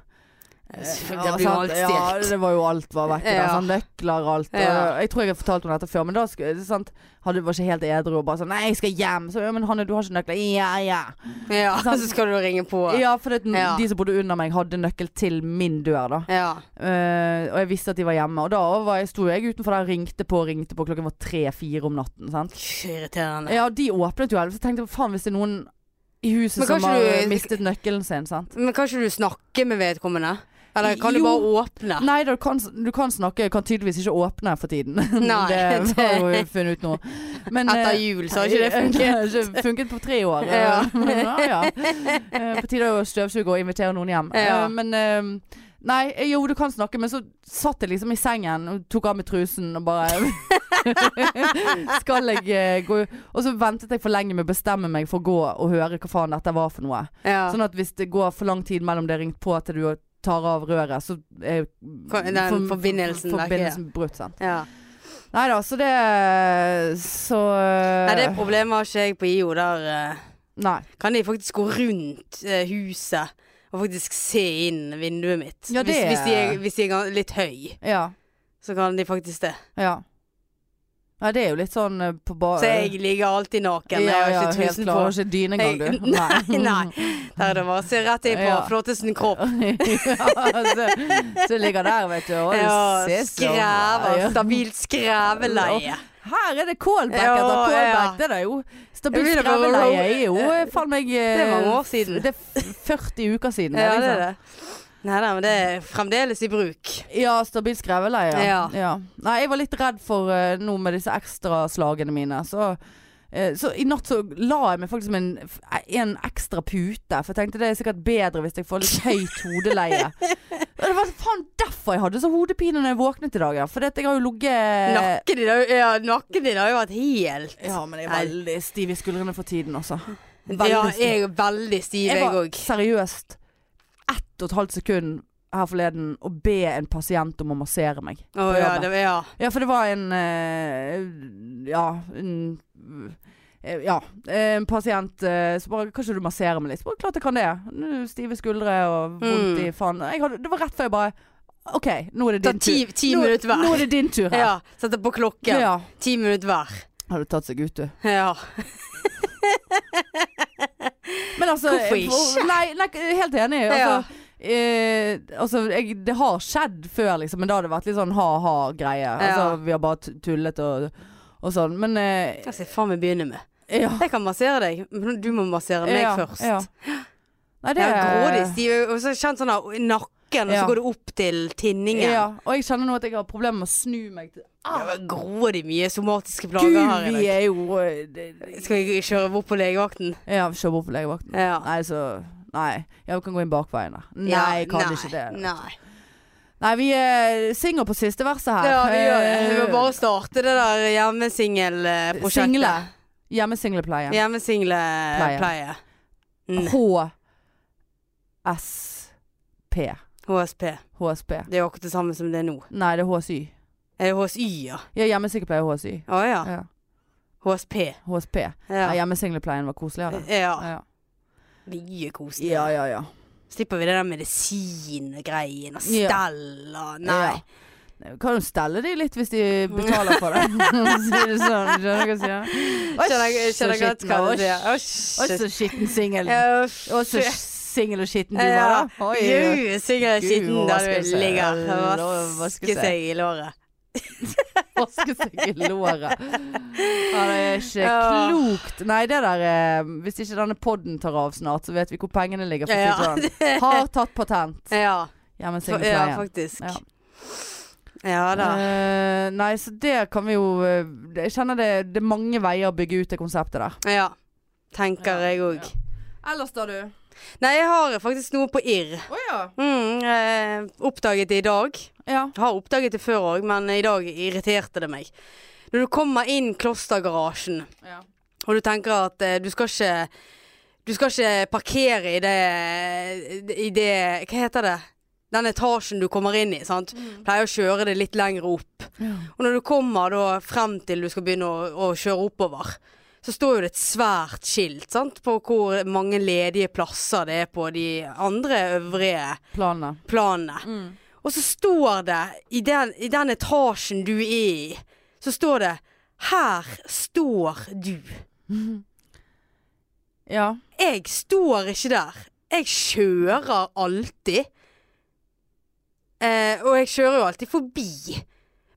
Det blir jo sant? alt Ja, stjålet. det var jo alt var vekk. Ja. Ja. Sånn, nøkler og alt. Og Ja. Jeg tror jeg har fortalt om dette før, men da sk- sant, hadde, var ikke helt edru og bare sånn 'Nei, jeg skal hjem.' Så 'Ja, men Hanne, du har ikke nøkler.' Ja, ja. Ja, sant? så skal du ringe på. Ja, for det, Ja. de som bodde under meg, hadde nøkkel til min dør, da. Ja. Eh, og jeg visste at de var hjemme. Og da var jeg, sto jeg utenfor der og ringte på, ringte på. Klokken var tre-fire om natten. Sant? Fy, Irriterende. Ja, og de åpnet jo helvete. Så tenkte jeg faen, hvis det er noen i huset Men som kanskje har du- eh, mistet nøkkelen sin, sant. Men kan ikke du snakke med vedkommende? Eller kan Jo. du bare åpne? Nei, da, du, kan, du kan snakke. Kan tydeligvis ikke åpne for tiden. Nei, det det- har jo jeg funnet ut nå. Men, Etter eh, jul så har ikke det funket. har ikke funket på tre år. Ja. Men, ja, ja. Eh, På tide å støvsuge og invitere noen hjem. Ja. Eh, Men eh, Nei, eh, jo du kan snakke, men så satt jeg liksom i sengen og tok av meg trusen og bare Skal jeg eh, gå Og så ventet jeg for lenge med å bestemme meg for å gå og høre hva faen dette var for noe. Ja. Sånn at hvis det går for lang tid mellom det er ringt på til du tar av røret, så er Kan- den forbindelsen vekke, ja. forbindelsen brutt. Sant? ja. Nei da, så det Så eh, Nei, det problemet har ikke jeg på IO. Der eh, Nei. kan de faktisk gå rundt eh, huset og faktisk se inn vinduet mitt. Ja, det hvis, hvis, de er, er- hvis de er gan- litt høy, Ja. så kan de faktisk det. ja. Nei, det er jo litt sånn eh, på ba... Så jeg ligger alltid naken. ja, jeg ja, har helt ikke klar. trusen Du på. har ikke dyne engang, Jeg- du. Nei, nei. Der er det bare å se rett inn på Ja. flottesten kropp. ja, så, så ligger der, vet du. Og du Ja, ser så- skrever. Ja. Stabilt skreveleie. Her er det callback Ja, etter callback. ja. Det er jo stabilt Jeg begynner bare å skreveleie roll- er jo eh, faen meg eh, Det er mange år siden. Det er f- 40 uker siden. Ja, liksom. det er det. Nei da, men det er fremdeles i bruk. Ja, stabilt skreveleie. Ja. Nei, jeg var litt redd for eh, noe med disse ekstraslagene mine, så eh, så i natt så la jeg meg faktisk med en, f- eh, en ekstra pute, for jeg tenkte det er sikkert bedre hvis jeg får litt høyt hodeleie. Og det var faen derfor jeg hadde så hodepine når jeg våknet i dag, ja. For jeg har jo Eh, ligget Nakken din har jo- ja, nakken din har jo vært helt Ja, men jeg er Nei. veldig stiv i skuldrene for tiden også. Ja, Veldig stiv. jeg er veldig stiv, Jeg jeg var òg. seriøst ett og et halvt sekund her forleden å be en pasient om å massere meg. Å på ja, jobbet. det var ja. Ja, for det var en eh, Ja. En, eh, ja. En pasient eh, som bare Kan ikke du massere meg litt? Så bare, klart jeg kan det. Nå, Stive skuldre og Mm. vondt i faen. Jeg hadde, det var rett før jeg bare OK, nå er det Ta din ti, tur. ti Nå- minutter hver. Nå er det din tur her. Ja, Sette på klokken. Ja. Ti minutter hver. Hadde tatt seg ut, du. Ja. Men altså Hvorfor jeg- ikke? Nei, nei, helt enig. Ja. Altså, eh, altså jeg, det har skjedd før, liksom, men da har det vært litt sånn ha-ha-greie. Ja. Altså, vi har bare tu- tullet og, og sånn. Men eh, Hva skal jeg faen meg begynne med? ja. Jeg kan massere deg, men du må massere meg ja, først. ja. Nei, Det det er grådig. De er jo også kjent sånn av nakken, og så Ja. går det opp til tinningen. Ja, og jeg kjenner nå at jeg har problemer med å snu meg til Ah, Ja, men Grådig mye somatiske plager Gud, her i vi dag. er jo eh, det- det- Skal vi kjøre bort på legevakten? Ja, kjør bort på legevakten. Ja. Nei, så Nei. Ja, vi kan gå inn bakveien, da. Nei, Ja, jeg kan nei, ikke det. Nei. Nei, vi eh, synger på siste verset her. Ja, vi gjør det. Vi må Eh, bare starte det der hjemmesingelprosjektet. Single. Hjemmesinglepleien. Pleie. Hjemmesinglepleie. Mm. HSP. HSP. HSP. Det er jo akkurat det samme som det er nå. Nei, det er HSY. Er det HSY, ja? Ja, hjemmesykepleie er HSY. Å ja. Ja. HSP. HSP. Ja. Nei, hjemmesinglepleien var koseligere. ja. Ja, Mye koselig. ja, ja. ja. Slipper vi det der medisingreien og Ja. stell og Nei. Ja. Nei, Vi kan jo stelle de litt hvis de betaler for det. Sier det sånn, skjønner du hva jeg sier? Oi, Skjønner jeg- så skjønner jeg godt skitten, hva du oi, sier. Å, Oi, shit. så skitten singel. Ja, Og så shit. singel og skitten du var, Ja. da. Oi, oi. Jo, sikkert Gud, skitten hvor der vasker du seg. ligger Ja, lov og å vaske vasker seg. seg i låret. Vaske seg i låret. Ja, det er ikke Ja. klokt. Nei, det der eh, Hvis ikke denne podden tar av snart, så vet vi hvor pengene ligger. For å si Ja, det sånn. Har tatt patent. ja. Ja, men fa- singel ja pleien. faktisk. Ja. Ja da. Eh, nei, så det kan vi jo eh, Jeg kjenner det, det er mange veier å bygge ut det konseptet der. Ja. Tenker jeg òg. Eh. ja. Ellers da, du? Nei, jeg har faktisk noe på irr. Å ja. Mm, eh, oppdaget det i dag. ja. Har oppdaget det før òg, men i dag irriterte det meg. Når du kommer inn klostergarasjen, Ja. og du tenker at eh, du skal ikke Du skal ikke parkere i det I det Hva heter det? Den etasjen du kommer inn i, sant. Mm. Pleier å kjøre det litt lenger opp. Ja. Og når du kommer da frem til du skal begynne å, å kjøre oppover, så står jo det et svært skilt sant? på hvor mange ledige plasser det er på de andre øvrige Planene. planene. Og så står det i den, i den etasjen du er i, så står det 'Her står du'. Ja. Jeg står ikke der. Jeg kjører alltid. Eh, og jeg kjører jo alltid forbi.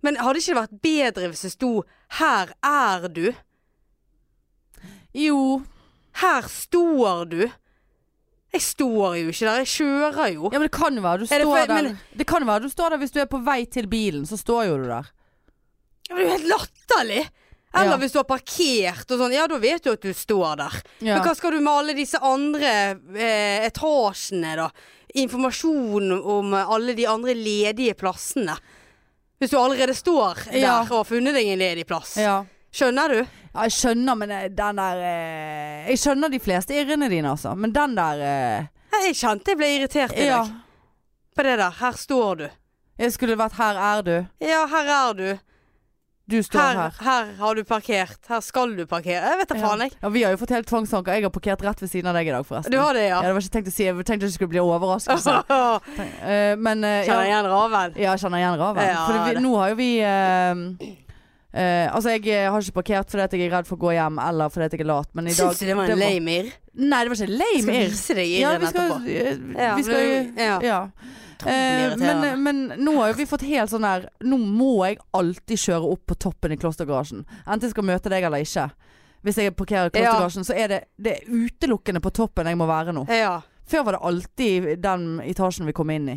Men hadde ikke det vært bedre hvis det sto 'Her er du'. Jo. Her står du. Jeg står jo ikke der. Jeg kjører jo. Ja, men det kan jo være du Er det står for- der. men- Det kan jo være du står der hvis du er på vei til bilen, så står jo du der. Ja, men Det er jo helt latterlig. Eller Ja. hvis du har parkert og sånn. Ja, da vet du at du står der. Ja. Men hva skal du med alle disse andre eh, etasjene, da? Informasjon om eh, alle de andre ledige plassene. Hvis du allerede står der Ja. og har funnet deg en ledig plass. Ja. Skjønner du? ja, jeg skjønner, men eh, den der eh, Jeg skjønner de fleste irrene dine, altså, men den der eh, Nei, Jeg kjente jeg ble irritert i Ja. dag på det der. Her står du. Jeg skulle vært 'her er du'. Ja, her er du. Du står Her, her. her har du parkert. Her skal du parkere. Jeg vet da faen, jeg. Ja, vi har jo fått helt tvangstanker. Jeg har parkert rett ved siden av deg i dag, forresten. Du har det, ja. ja? det var ikke tenkt å si. Jeg tenkte det skulle bli overraskelse. Kjenner Eh, men eh, ja. igjen raven. Ja, jeg kjenner igjen raven. Ja, for vi, det- nå har jo vi eh, eh, altså jeg eh, har ikke parkert fordi at jeg er redd for å gå hjem, eller fordi at jeg er lat, men i dag Syns du det var en lame irr? Nei, det var ikke Jeg lame skal irr. vise deg Ja, irren vi skal, etterpå. ja, vi skal men- ja. Ja. Eh, irriterende. men, men nå har jo vi fått helt sånn der Nå må jeg alltid kjøre opp på toppen i klostergarasjen. Enten jeg skal møte deg eller ikke. Hvis jeg parkerer i Ja. klostergarasjen, så er det, det er utelukkende på toppen jeg må være nå. Ja. Før var det alltid den etasjen vi kom inn i.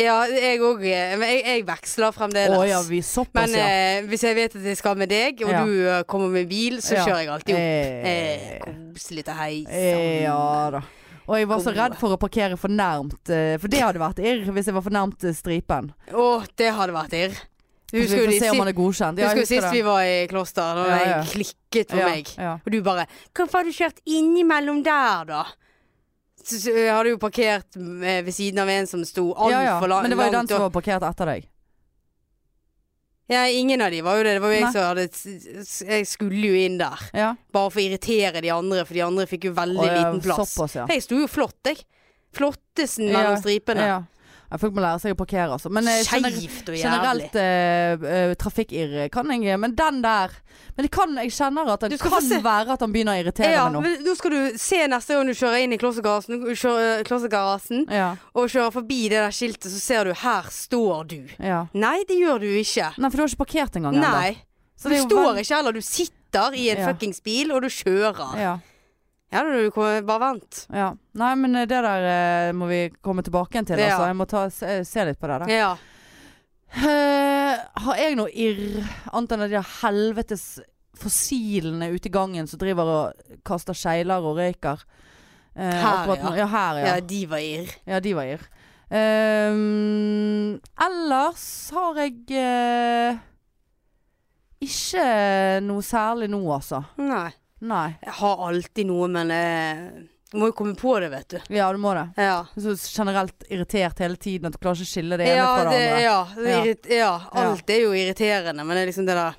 ja, jeg òg. Men jeg, jeg veksler Å fremdeles. ja, vi såpass, men ja. eh, hvis jeg vet at jeg skal med deg, og Ja. du eh, kommer med bil, så Ja. kjører jeg alltid opp. Eh, Eh, Koselig til heis. eh, ja da. Og jeg var så Gode. redd for å parkere for nærmt, eh, for det hadde vært irr hvis jeg var for nærmt eh, stripen. Å, det hadde vært irr. Du Så vi Husker jo får de se si- om han er godkjent. Ja, husker jo jeg sist husker vi det. var i kloster, Ja, da ja. jeg klikket for Ja, meg. ja. Og du bare 'Hvorfor har du kjørt innimellom der, da?' Så, så jeg hadde jo parkert eh, ved siden av en som sto altfor Ja, ja. langt. Men det var jo den opp. som var parkert etter deg. Ja, ingen av de var jo det. Det var jo jeg Nei. som hadde s- s- Jeg skulle jo inn der. Ja. Bare for å irritere de andre, for de andre fikk jo veldig Å, ja, liten plass. Såpass, ja. Jeg sto jo flott, jeg. Flottesen Ja, mellom stripene. Ja. Ja, Folk må lære seg å parkere, altså. Men eh, gener- Skeivt og jævlig. generelt eh, eh, trafikkerr kan jeg eh, Men den der Men det kan, jeg kjenner at Du det skal kan få se. være at han begynner å irritere Ja, meg nå. men nå skal du se neste gang du kjører inn i klossergarasjen, kjører, klossergarasjen Ja, og kjører forbi det der skiltet, så ser du 'her står du'. ja. Nei, det gjør du ikke. Nei, for du har ikke parkert engang ennå. Nei. Så Du det er jo står vel- ikke heller. Du sitter i en Ja. fuckings bil, og du kjører. Ja, Ja, du, du kan- bare vent. ja. Nei, men eh, det der eh, må vi komme tilbake igjen til, Ja. altså. Jeg må ta, se, se litt på det der. Ja. Eh, har jeg noe irr annet enn de der helvetes fossilene ute i gangen som driver og kaster skeiler og røyker? Eh, Her, akkurat nå- ja. ja. Her, ja. ja, de var irr. Ja, de var irr. Ehm, ellers har jeg eh, ikke noe særlig nå, altså. Nei. Nei. Jeg har alltid noe, men eh, du må jo komme på det, vet du. Ja, du må det. Ja. Så generelt irritert hele tiden at du klarer ikke å skille det ene Ja, fra det det, andre. ja, det Ja. irrit- ja, alt er jo irriterende, men det er liksom det der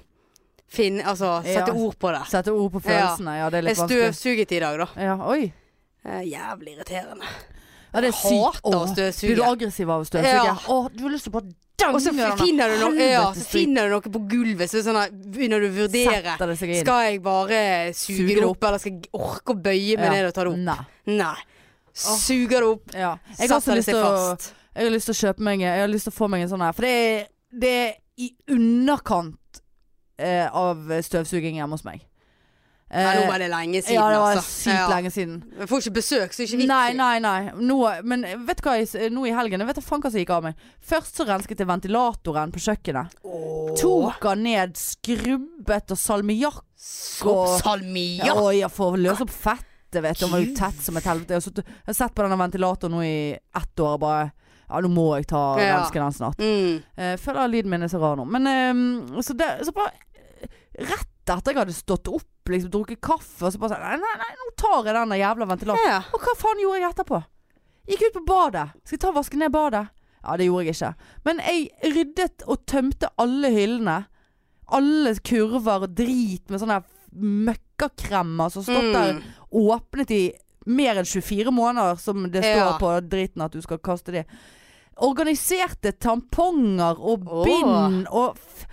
Finn, altså, sette Ja. ord på det. Sette ord på følelsene. Ja, det er litt Jeg vanskelig. støvsuget i dag, da. Ja, oi. Eh, Jævlig irriterende. Ja, det er Jeg sykt. hater å Åh, støvsuge. Blir du aggressiv av å støvsuge? Ja. Åh, du har lyst til å bare dange Og så den der finner du, noe- ja, så helvetes driten. finner du noe på gulvet, så er det sånn at begynner du å vurdere. Setter det seg inn. Skal jeg bare suge Suger det det opp, eller skal jeg orke å bøye meg Ja. ned og ta det opp? Nei. Nei. Suger det opp, Ja. Jeg har også setter lyst det seg til å fast. Jeg har lyst til å kjøpe meg Jeg har lyst til å få meg en sånn her For det er, det er i underkant eh, Av støvsuging hjemme hos meg Ja, nå Eh, var det lenge siden, Ja, det var altså. sykt Ja. lenge siden Jeg får ikke besøk, så det er ikke vits. Nei, i. nei, nei nå, Men vet du hva, jeg, s- nå i helgen Jeg vet da faen hva som gikk av meg Først så rensket jeg ventilatoren på kjøkkenet Åh. Tok den ned, skrubbet og salmiakk Sopp, salmiakk. Oi, jeg får løse opp fettet, vet du. Den var jo Gud. tett som et helvete. Jeg har suttet- jeg har sett på denne ventilatoren nå i ett år og bare Ja, nå må jeg ta Ja. rensken den snart. Mm. Eh, føler lyden min er så rar nå. Men eh, så, det, så bare Rett etter jeg hadde stått opp, liksom, drukket kaffe, og så bare sånn Nei, nei, nei, nå tar jeg den der jævla ventilatoren. Ja. Og hva faen gjorde jeg etterpå? Gikk ut på badet. Skal jeg ta og vaske ned badet? Ja, det gjorde jeg ikke. Men jeg ryddet og tømte alle hyllene. Alle kurver og drit med sånne møkkakremmer som har stått der Mm. åpnet i mer enn 24 måneder, som det står Ja. på driten at du skal kaste de. Organiserte tamponger og Åh. bind og f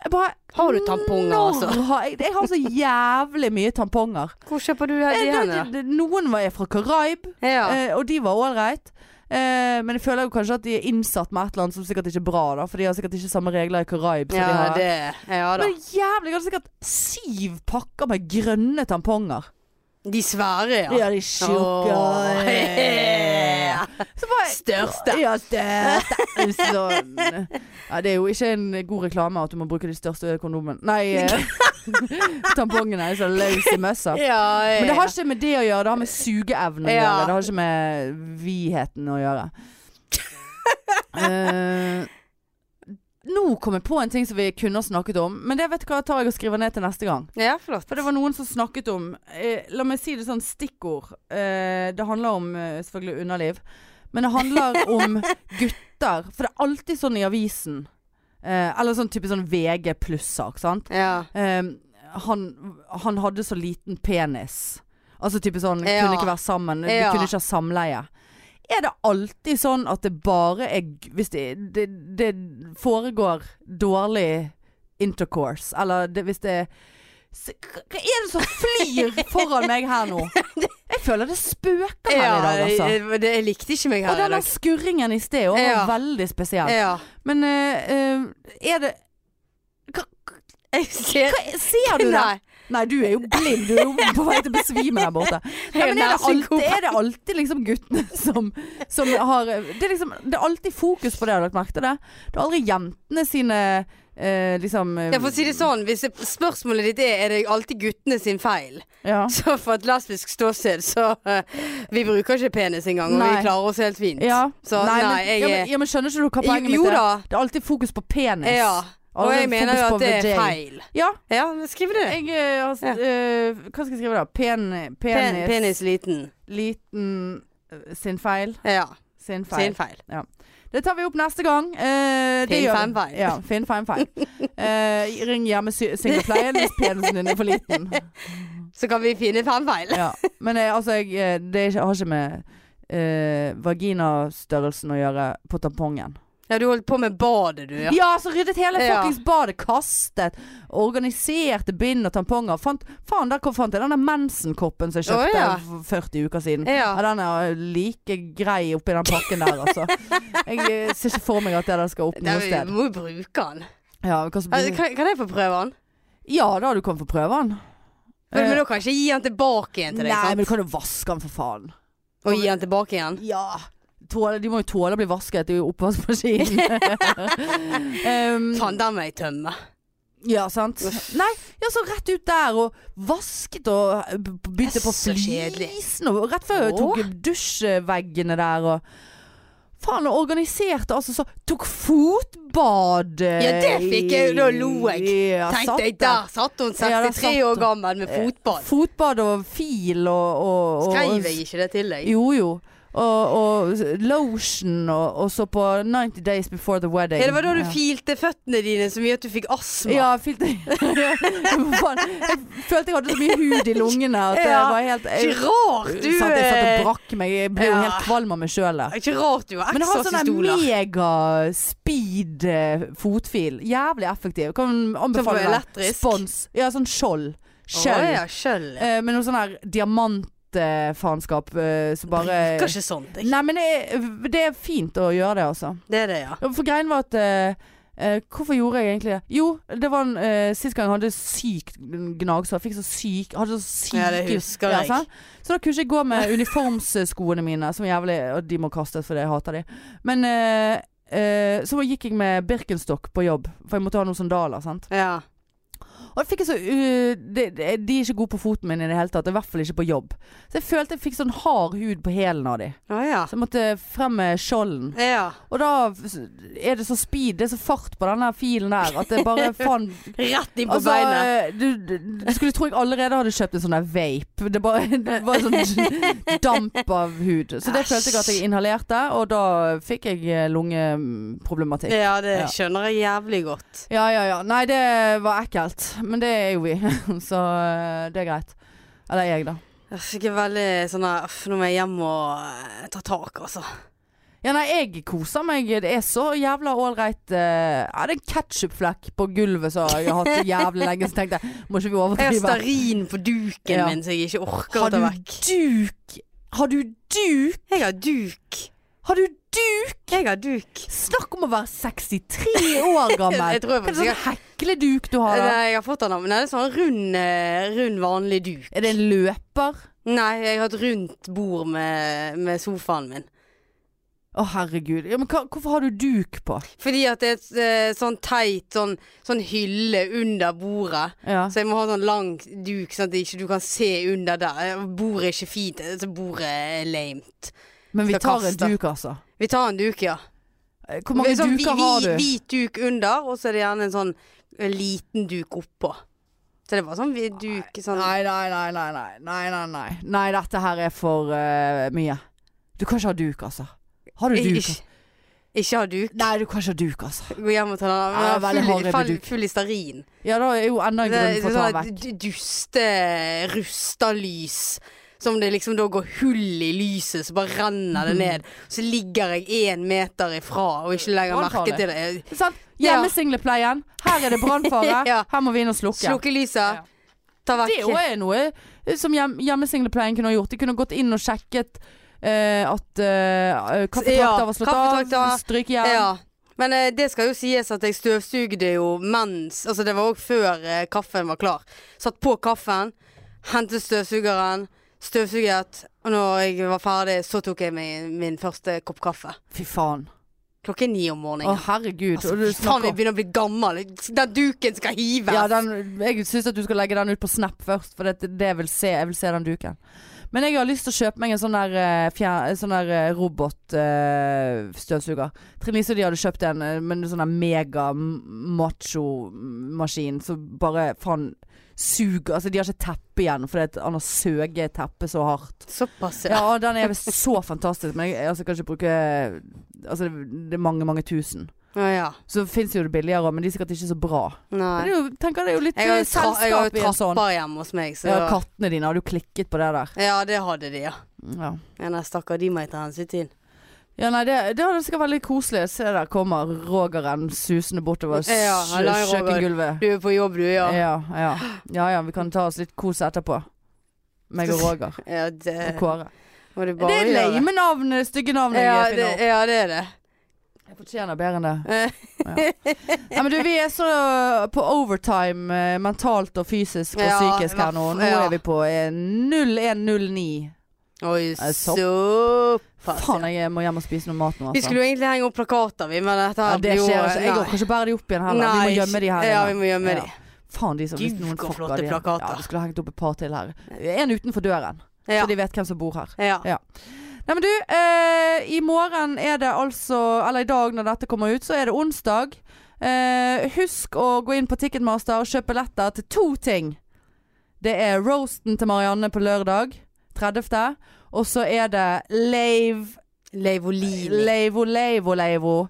jeg bare, Har du tamponger, Når altså? Har jeg, jeg har så jævlig mye tamponger. Hvor kjøper du her Eh, igjen, det- det- Noen var fra Karaib, da? Ja. eh, og de var ålreit. Eh, men jeg føler jo kanskje at de er innsatt med et eller annet som sikkert ikke er bra, da. For de har sikkert ikke samme regler i Karaib. som de Ja, har. det Ja da. Men jævlig, jeg hadde sikkert syv pakker med grønne tamponger. De svære, ja. Ja, de er tjukke. Åh. Ja. Så bare- Største. Ja, største. Sånn. Ja, det er jo ikke en god reklame at du må bruke de største kondomene. Nei, eh, tampongene er så løse i møssa. Ja, ja. Men det har ikke med det å gjøre, det har med sugeevnen å Eh. Ja. gjøre. Det har ikke med vidheten å gjøre. Eh, nå kom jeg på en ting som vi kunne ha snakket om, men det vet du hva tar jeg og skriver ned til neste gang. Ja, flott. For det var noen som snakket om eh, La meg si det sånn stikkord. Eh, det handler om eh, selvfølgelig underliv. Men det handler om gutter. For det er alltid sånn i avisen. Eh, eller sånn type sånn VG pluss-sak, sant. Ja. Eh, han, han hadde så liten penis. Altså type sånn Ja. Kunne ikke være sammen. Vi Ja. kunne ikke ha samleie. Er det alltid sånn at det bare er gu- Hvis det, det, det foregår dårlig intercourse, eller det, hvis det Se, Hva hva er det som flyr foran meg her nå? Jeg føler det spøker her i dag, altså. eh, det, jeg likte ikke meg Og her i denne dag. skurringen i sted også var Ja. veldig spesiell. Ja. Men eh, eh, er det hva, Jeg ser hva, Ser du det? Nei. Nei, du er jo blind. Du er jo på vei til å besvime der borte. Nei, men er det alltid, er det alltid liksom guttene som, som har det er, liksom, det er alltid fokus på det, har du lagt merke til det? Det er aldri jentene sine eh, liksom eh, Jeg får si det sånn, hvis det- spørsmålet ditt er Er det alltid guttene sin feil, ja. så for et lesbisk ståsted, så eh, Vi bruker ikke penis engang, og vi Nei. klarer oss helt fint. Ja. Så nei, nei, men, jeg ja, er men, ja, men skjønner ikke du hva poenget mitt Jo, jo er? da. Det er alltid fokus på penis. Ja. Og Aldri jeg mener fokus jo på at det er vagina. feil. Ja. Ja, men skriv det. Jeg, eh, har s- Ja. eh, hva skal jeg skrive da? Pen, penis, Pen, penis liten. Liten eh, sin feil. Ja. Sin feil. Sin feil. Det tar vi opp neste gang. Eh, det Finn gjør vi. feil, feil. Ja, finn feil, feil. Eh, ring hjemme sy- singlepleien hvis penisen din er for liten. Så kan vi finne fem feil. Ja. Men eh, altså, jeg, eh, det er ikke, har ikke med eh, vaginastørrelsen å gjøre på tampongen. Ja, du holdt på med badet, du. Ja. Ja, så ryddet hele Ja. fuckings badet. Kastet. Organiserte bind og tamponger. Fant, faen, der kom- fant jeg denne mensenkoppen som jeg Å, kjøpte ja. for 40 uker siden. Ja, ja. den er eh, like grei oppi den pakken der, altså. Jeg eh, ser ikke for meg at jeg der skal opp Nei, noe vi sted. må jo bruke den. Ja, hva som Altså, blir- kan, kan jeg få prøve den? ja da, du kan få prøve den. Men, men Eh, da kan jeg ikke gi den tilbake igjen til deg, Nei, men du sant? kan jo vaske den, for faen. Og gi den tilbake igjen. Ja. Tåle, de må jo tåle å bli vasket i oppvaskmaskinen. um, Faen, den må jeg tømme. Ja, sant. Nei, ja, så rett ut der og vasket og eh, b- b- begynte Det er på så kjedelig. flisen. Og rett før jeg tok dusjveggene der og Faen, og organiserte altså så Tok fotbad eh, Ja, det fikk jeg jo, da lo jeg. Ja, satt Tenkte jeg, der satt hun, Ja, der 63 satt år hun. Eh, gammel med fotball. Fotbad og fil og, og, og Skrev jeg ikke det til deg? Jo, jo. Og, og lotion og, og så på 90 Days Before The Wedding. Ja, det var da du Ja. filte føttene dine så mye at du fikk astma. Ja, jeg følte Jeg følte jeg hadde så mye hud i lungene at det Ja. var helt jeg, Ikke rart satt, du jeg satt og eh, brakk meg. Jeg ble jo Ja. helt kvalm av meg sjøl. Ikke rart du har Men jeg har sånn ekstrasystoler. mega-speed eh, fotfil. Jævlig effektiv. Kan anbefale Sånn den. elektrisk? Spons. Ja, sånn skjold. Skjøll. Å ja, skjøll. ja. Eh, med noe sånn her diamantfaenskap eh, som bare Bruker ikke sånt, jeg. Nei, men det, det er fint å gjøre det, altså. Det er det, ja. Ja, For greien var at eh, eh, Hvorfor gjorde jeg egentlig det? Jo, det var en eh, Sist gang jeg hadde sykt gnagsår. Jeg Fikk så syk Hadde så syk Ja, det husker jeg. sant? Så da kunne jeg ikke gå med uniformsskoene mine, som er jævlig Og de må kastes fordi jeg hater de. Men eh, eh, så gikk jeg med Birkenstock på jobb, for jeg måtte ha noen sandaler. sant? ja. Og da fikk jeg så uh, de, de de er ikke gode på foten min i det hele tatt, og i hvert fall ikke på jobb. Så jeg følte jeg fikk sånn hard hud på hælen av de. Å ja. Så jeg måtte frem med skjolden. ja. Og da er det så speed, det er så fart på den der filen der at det bare faen Rett inn på Altså, beinet. eh, du, du, du skulle tro jeg allerede hadde kjøpt en sånn der vape. Det, bare, det var sånn damp av hud. Så det Æsj. følte jeg at jeg inhalerte, og da fikk jeg eh, lungeproblematikk. Ja, det Ja. skjønner jeg jævlig godt. Ja, ja, ja. Nei, det var ekkelt. Men det er jo vi, så eh, det er greit. Eller jeg, da. Jeg fikk en veldig sånn her «Uff, Nå må jeg hjem og eh, ta tak, altså. Ja, nei, jeg koser meg. Det er så jævla ålreit. eh, Ja, det er en ketsjupflekk på gulvet som jeg har hatt så jævlig lenge, så tenkte jeg må ikke vi Jeg har overdrive. stearin på duken Ja. min som jeg ikke orker Har å ta du vekk. duk? Har du duk? Jeg har duk. Har du duk? Jeg har duk. Snakk om å være 63 år gammel. Jeg tror jeg Hva er det faktisk sånn hekleduk du har da? Nei, jeg har fått den av Nei, det er sånn rund, eh, rund vanlig duk. Er det en løper? Nei, jeg har et rundt bord med, med sofaen min. Å herregud. Ja, men hva, hvorfor har du duk på? Fordi at det er et eh, sånn teit sånn, sånn hylle under bordet. Ja. Så jeg må ha sånn lang duk, sånn at ikke du kan se under der. Eh, Bordet er ikke fint. eh, Så bordet er lamet. Men vi Skal tar en kaste. duk, altså. Vi tar en duk, ja. Eh, Hvor mange Det er sånn duker hvi- har du? Hvit duk under, og så er det gjerne en sånn eh, liten duk oppå. Så det var sånn hvit duk sånn Nei, nei, nei, nei, nei, nei, nei, nei. Nei, dette her er for eh, mye. Du kan ikke ha duk, altså. Har du Ik- duk? altså? Ikke, ikke ha duk. Nei, du kan ikke ha duk, altså. Gå hjem og ta den Ja, av. veldig Men hard Full, ribbe full, duk. full i stearin. Ja, da er jo enda en Det grunn er for å ta den sånn vekk. d- duste, rusta lys. Som det liksom da går hull i lyset, så bare renner det ned. Så ligger jeg én meter ifra og ikke legger merke Brannfarlig. til det. Sant? Ja. Hjemmesinglepleien. Her er det brannfare. Ja. Her må vi inn og slukke. Slukke lyset. Ja. Ta Det vekk. òg er eh, noe som hjem, hjemmesinglepleien kunne ha gjort. De kunne gått inn og sjekket eh, at uh, Ja, kaffetrakter var slått kaffetrakter. av, strykejern Ja. Men eh, det skal jo sies at jeg støvsugde jo mens Altså det var òg før eh, kaffen var klar. Satt på kaffen, hentet støvsugeren, støvsuget. Og når jeg var ferdig, så tok jeg meg min første kopp kaffe. Fy faen. Klokken ni om Å, morgenen. herregud. Altså, Og du fy faen, snakker jeg begynner å bli gammel. Den duken skal hives. ja, den, jeg syns at du skal legge den ut på Snap først, for det, det vil se, jeg vil se den duken. Men jeg har lyst til å kjøpe meg en sånn der, eh, fjer- en sånn der robotstøvsuger. Trine Lise og de hadde kjøpt en, eh, men en sånn der mega macho-maskin som bare faen suger Altså, de har ikke teppe igjen, fordi at han har søget teppet så hardt. Såpass, ja. Ja, den er visst så fantastisk, men jeg, altså, jeg kan ikke bruke Altså, det, det er mange, mange tusen. Å, ja. ja. Så fins jo det billigere òg, men de er sikkert ikke så bra. Men Nei. Det er jo, tenker det er jo litt Jeg har eh, jo tra jeg har jo selskap i en sånn. trapper hjemme hos meg, så Ja, kattene dine, har du klikket på det der? Ja, det hadde de, Mm, ja. Ja. Men nei, stakkar, de må jeg ta hensyn til. Ja, nei, det, det hadde sikkert vært litt koselig. Se der kommer Rogeren susende bortover ja, Ja, hallo, Roger. kjøkkengulvet. Du er på jobb, du, ja. Ja. Ja, ja. ja vi kan ta oss litt kos etterpå. Meg og Roger Ja, det og Kåre. må du Det Eh, bare er gjøre. lame navn, eh, stygge navn jeg Ja, det, finner opp. ja, det er det. Jeg fortjener bedre enn det. Eh, Nei, men du, vi er så på overtime eh, mentalt og fysisk og Ja, psykisk her nå. Nå ja. er vi på eh, 0109. Oi, Eh, så- såpass. Faen, ja. jeg må hjem og spise noe mat nå, Vi altså. skulle jo egentlig henge opp plakater, vi, men dette Ja, her det blir jo- skjer ikke. Jeg Nei. orker ikke bære de opp igjen heller. Vi Nei, må gjemme de her. Ja, inne. vi må gjemme Ja. Faen, de som hvis Gud, noen hvor fucker flotte de. plakater. Ja, vi skulle ha hengt opp et par til her. En utenfor døren, de. Ja. så de vet hvem som bor her. ja. Nei, men du, eh, i morgen er det altså Eller i dag når dette kommer ut, så er det onsdag. Eh, husk å gå inn på Ticketmaster og kjøpe billetter til to ting. Det er roasten til Marianne på lørdag 30. Og så er det Lave Leivolini. Leivo, leivo, leivo.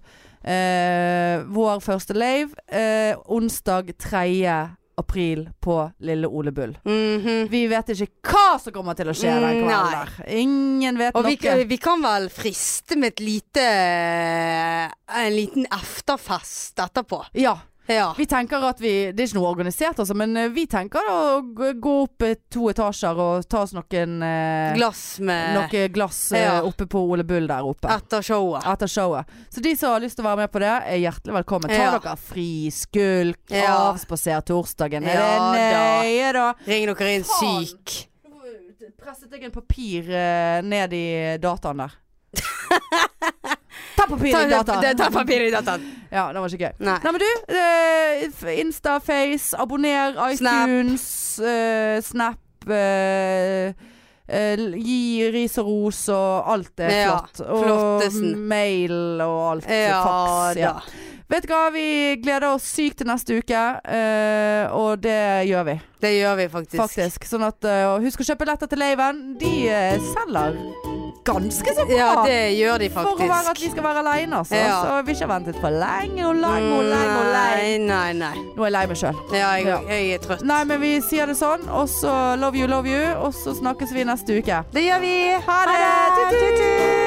Eh, vår første lave eh, onsdag 3. april på Lille Ole Bull. Mhm. Vi vet ikke hva som kommer til å skje den kvelden Nei. der. Ingen vet Og vi, noe. vi kan vel friste med et lite eh, En liten efterfest etterpå. Ja, Ja. vi tenker at vi Det er ikke noe organisert, altså, men eh, vi tenker å g- gå opp eh, to etasjer og ta oss noen eh, Glass med noe glass eh, Ja. oppe på Ole Bull der oppe. etter showet. etter showet. Så de som har lyst til å være med på det, er hjertelig velkommen. Ta Ja. dere fri, skulk, Ja. avspaser torsdagen. Er Ja det da. nøye, da? Ring dere inn Faen. syk. Presset jeg en papir eh, ned i dataen der. Ta papir Ta, i ta, dataen! ta papiret i dataen. Ja, det var ikke gøy. Nei. Nei, men du, eh, Insta, Face, abonner, Snap. iTunes, eh, Snap. eh, eh, gi ris og ros og alt er Ja, flott. Og flottesen. mail og alt. eh, Ja fax. Ja. da. Vet du hva, vi gleder oss sykt til neste uke, eh, og det gjør vi Det gjør vi faktisk. faktisk. Sånn at, eh, og husk å kjøpe letter til Leiven. De eh, selger ganske så bra. Ja, det gjør de for å være at faktisk. vi skal være aleine, altså. Ja. Så vi ikke har ventet for lenge og lenge og lenge. og lenge. Mm, Nei, nei, nei. Nå er jeg lei meg sjøl. Ja, jeg, Ja. jeg er trøtt. Nei, men vi sier det sånn, og så love you, love you, og så snakkes vi neste uke. Det gjør vi. Ha det! Tut, tut.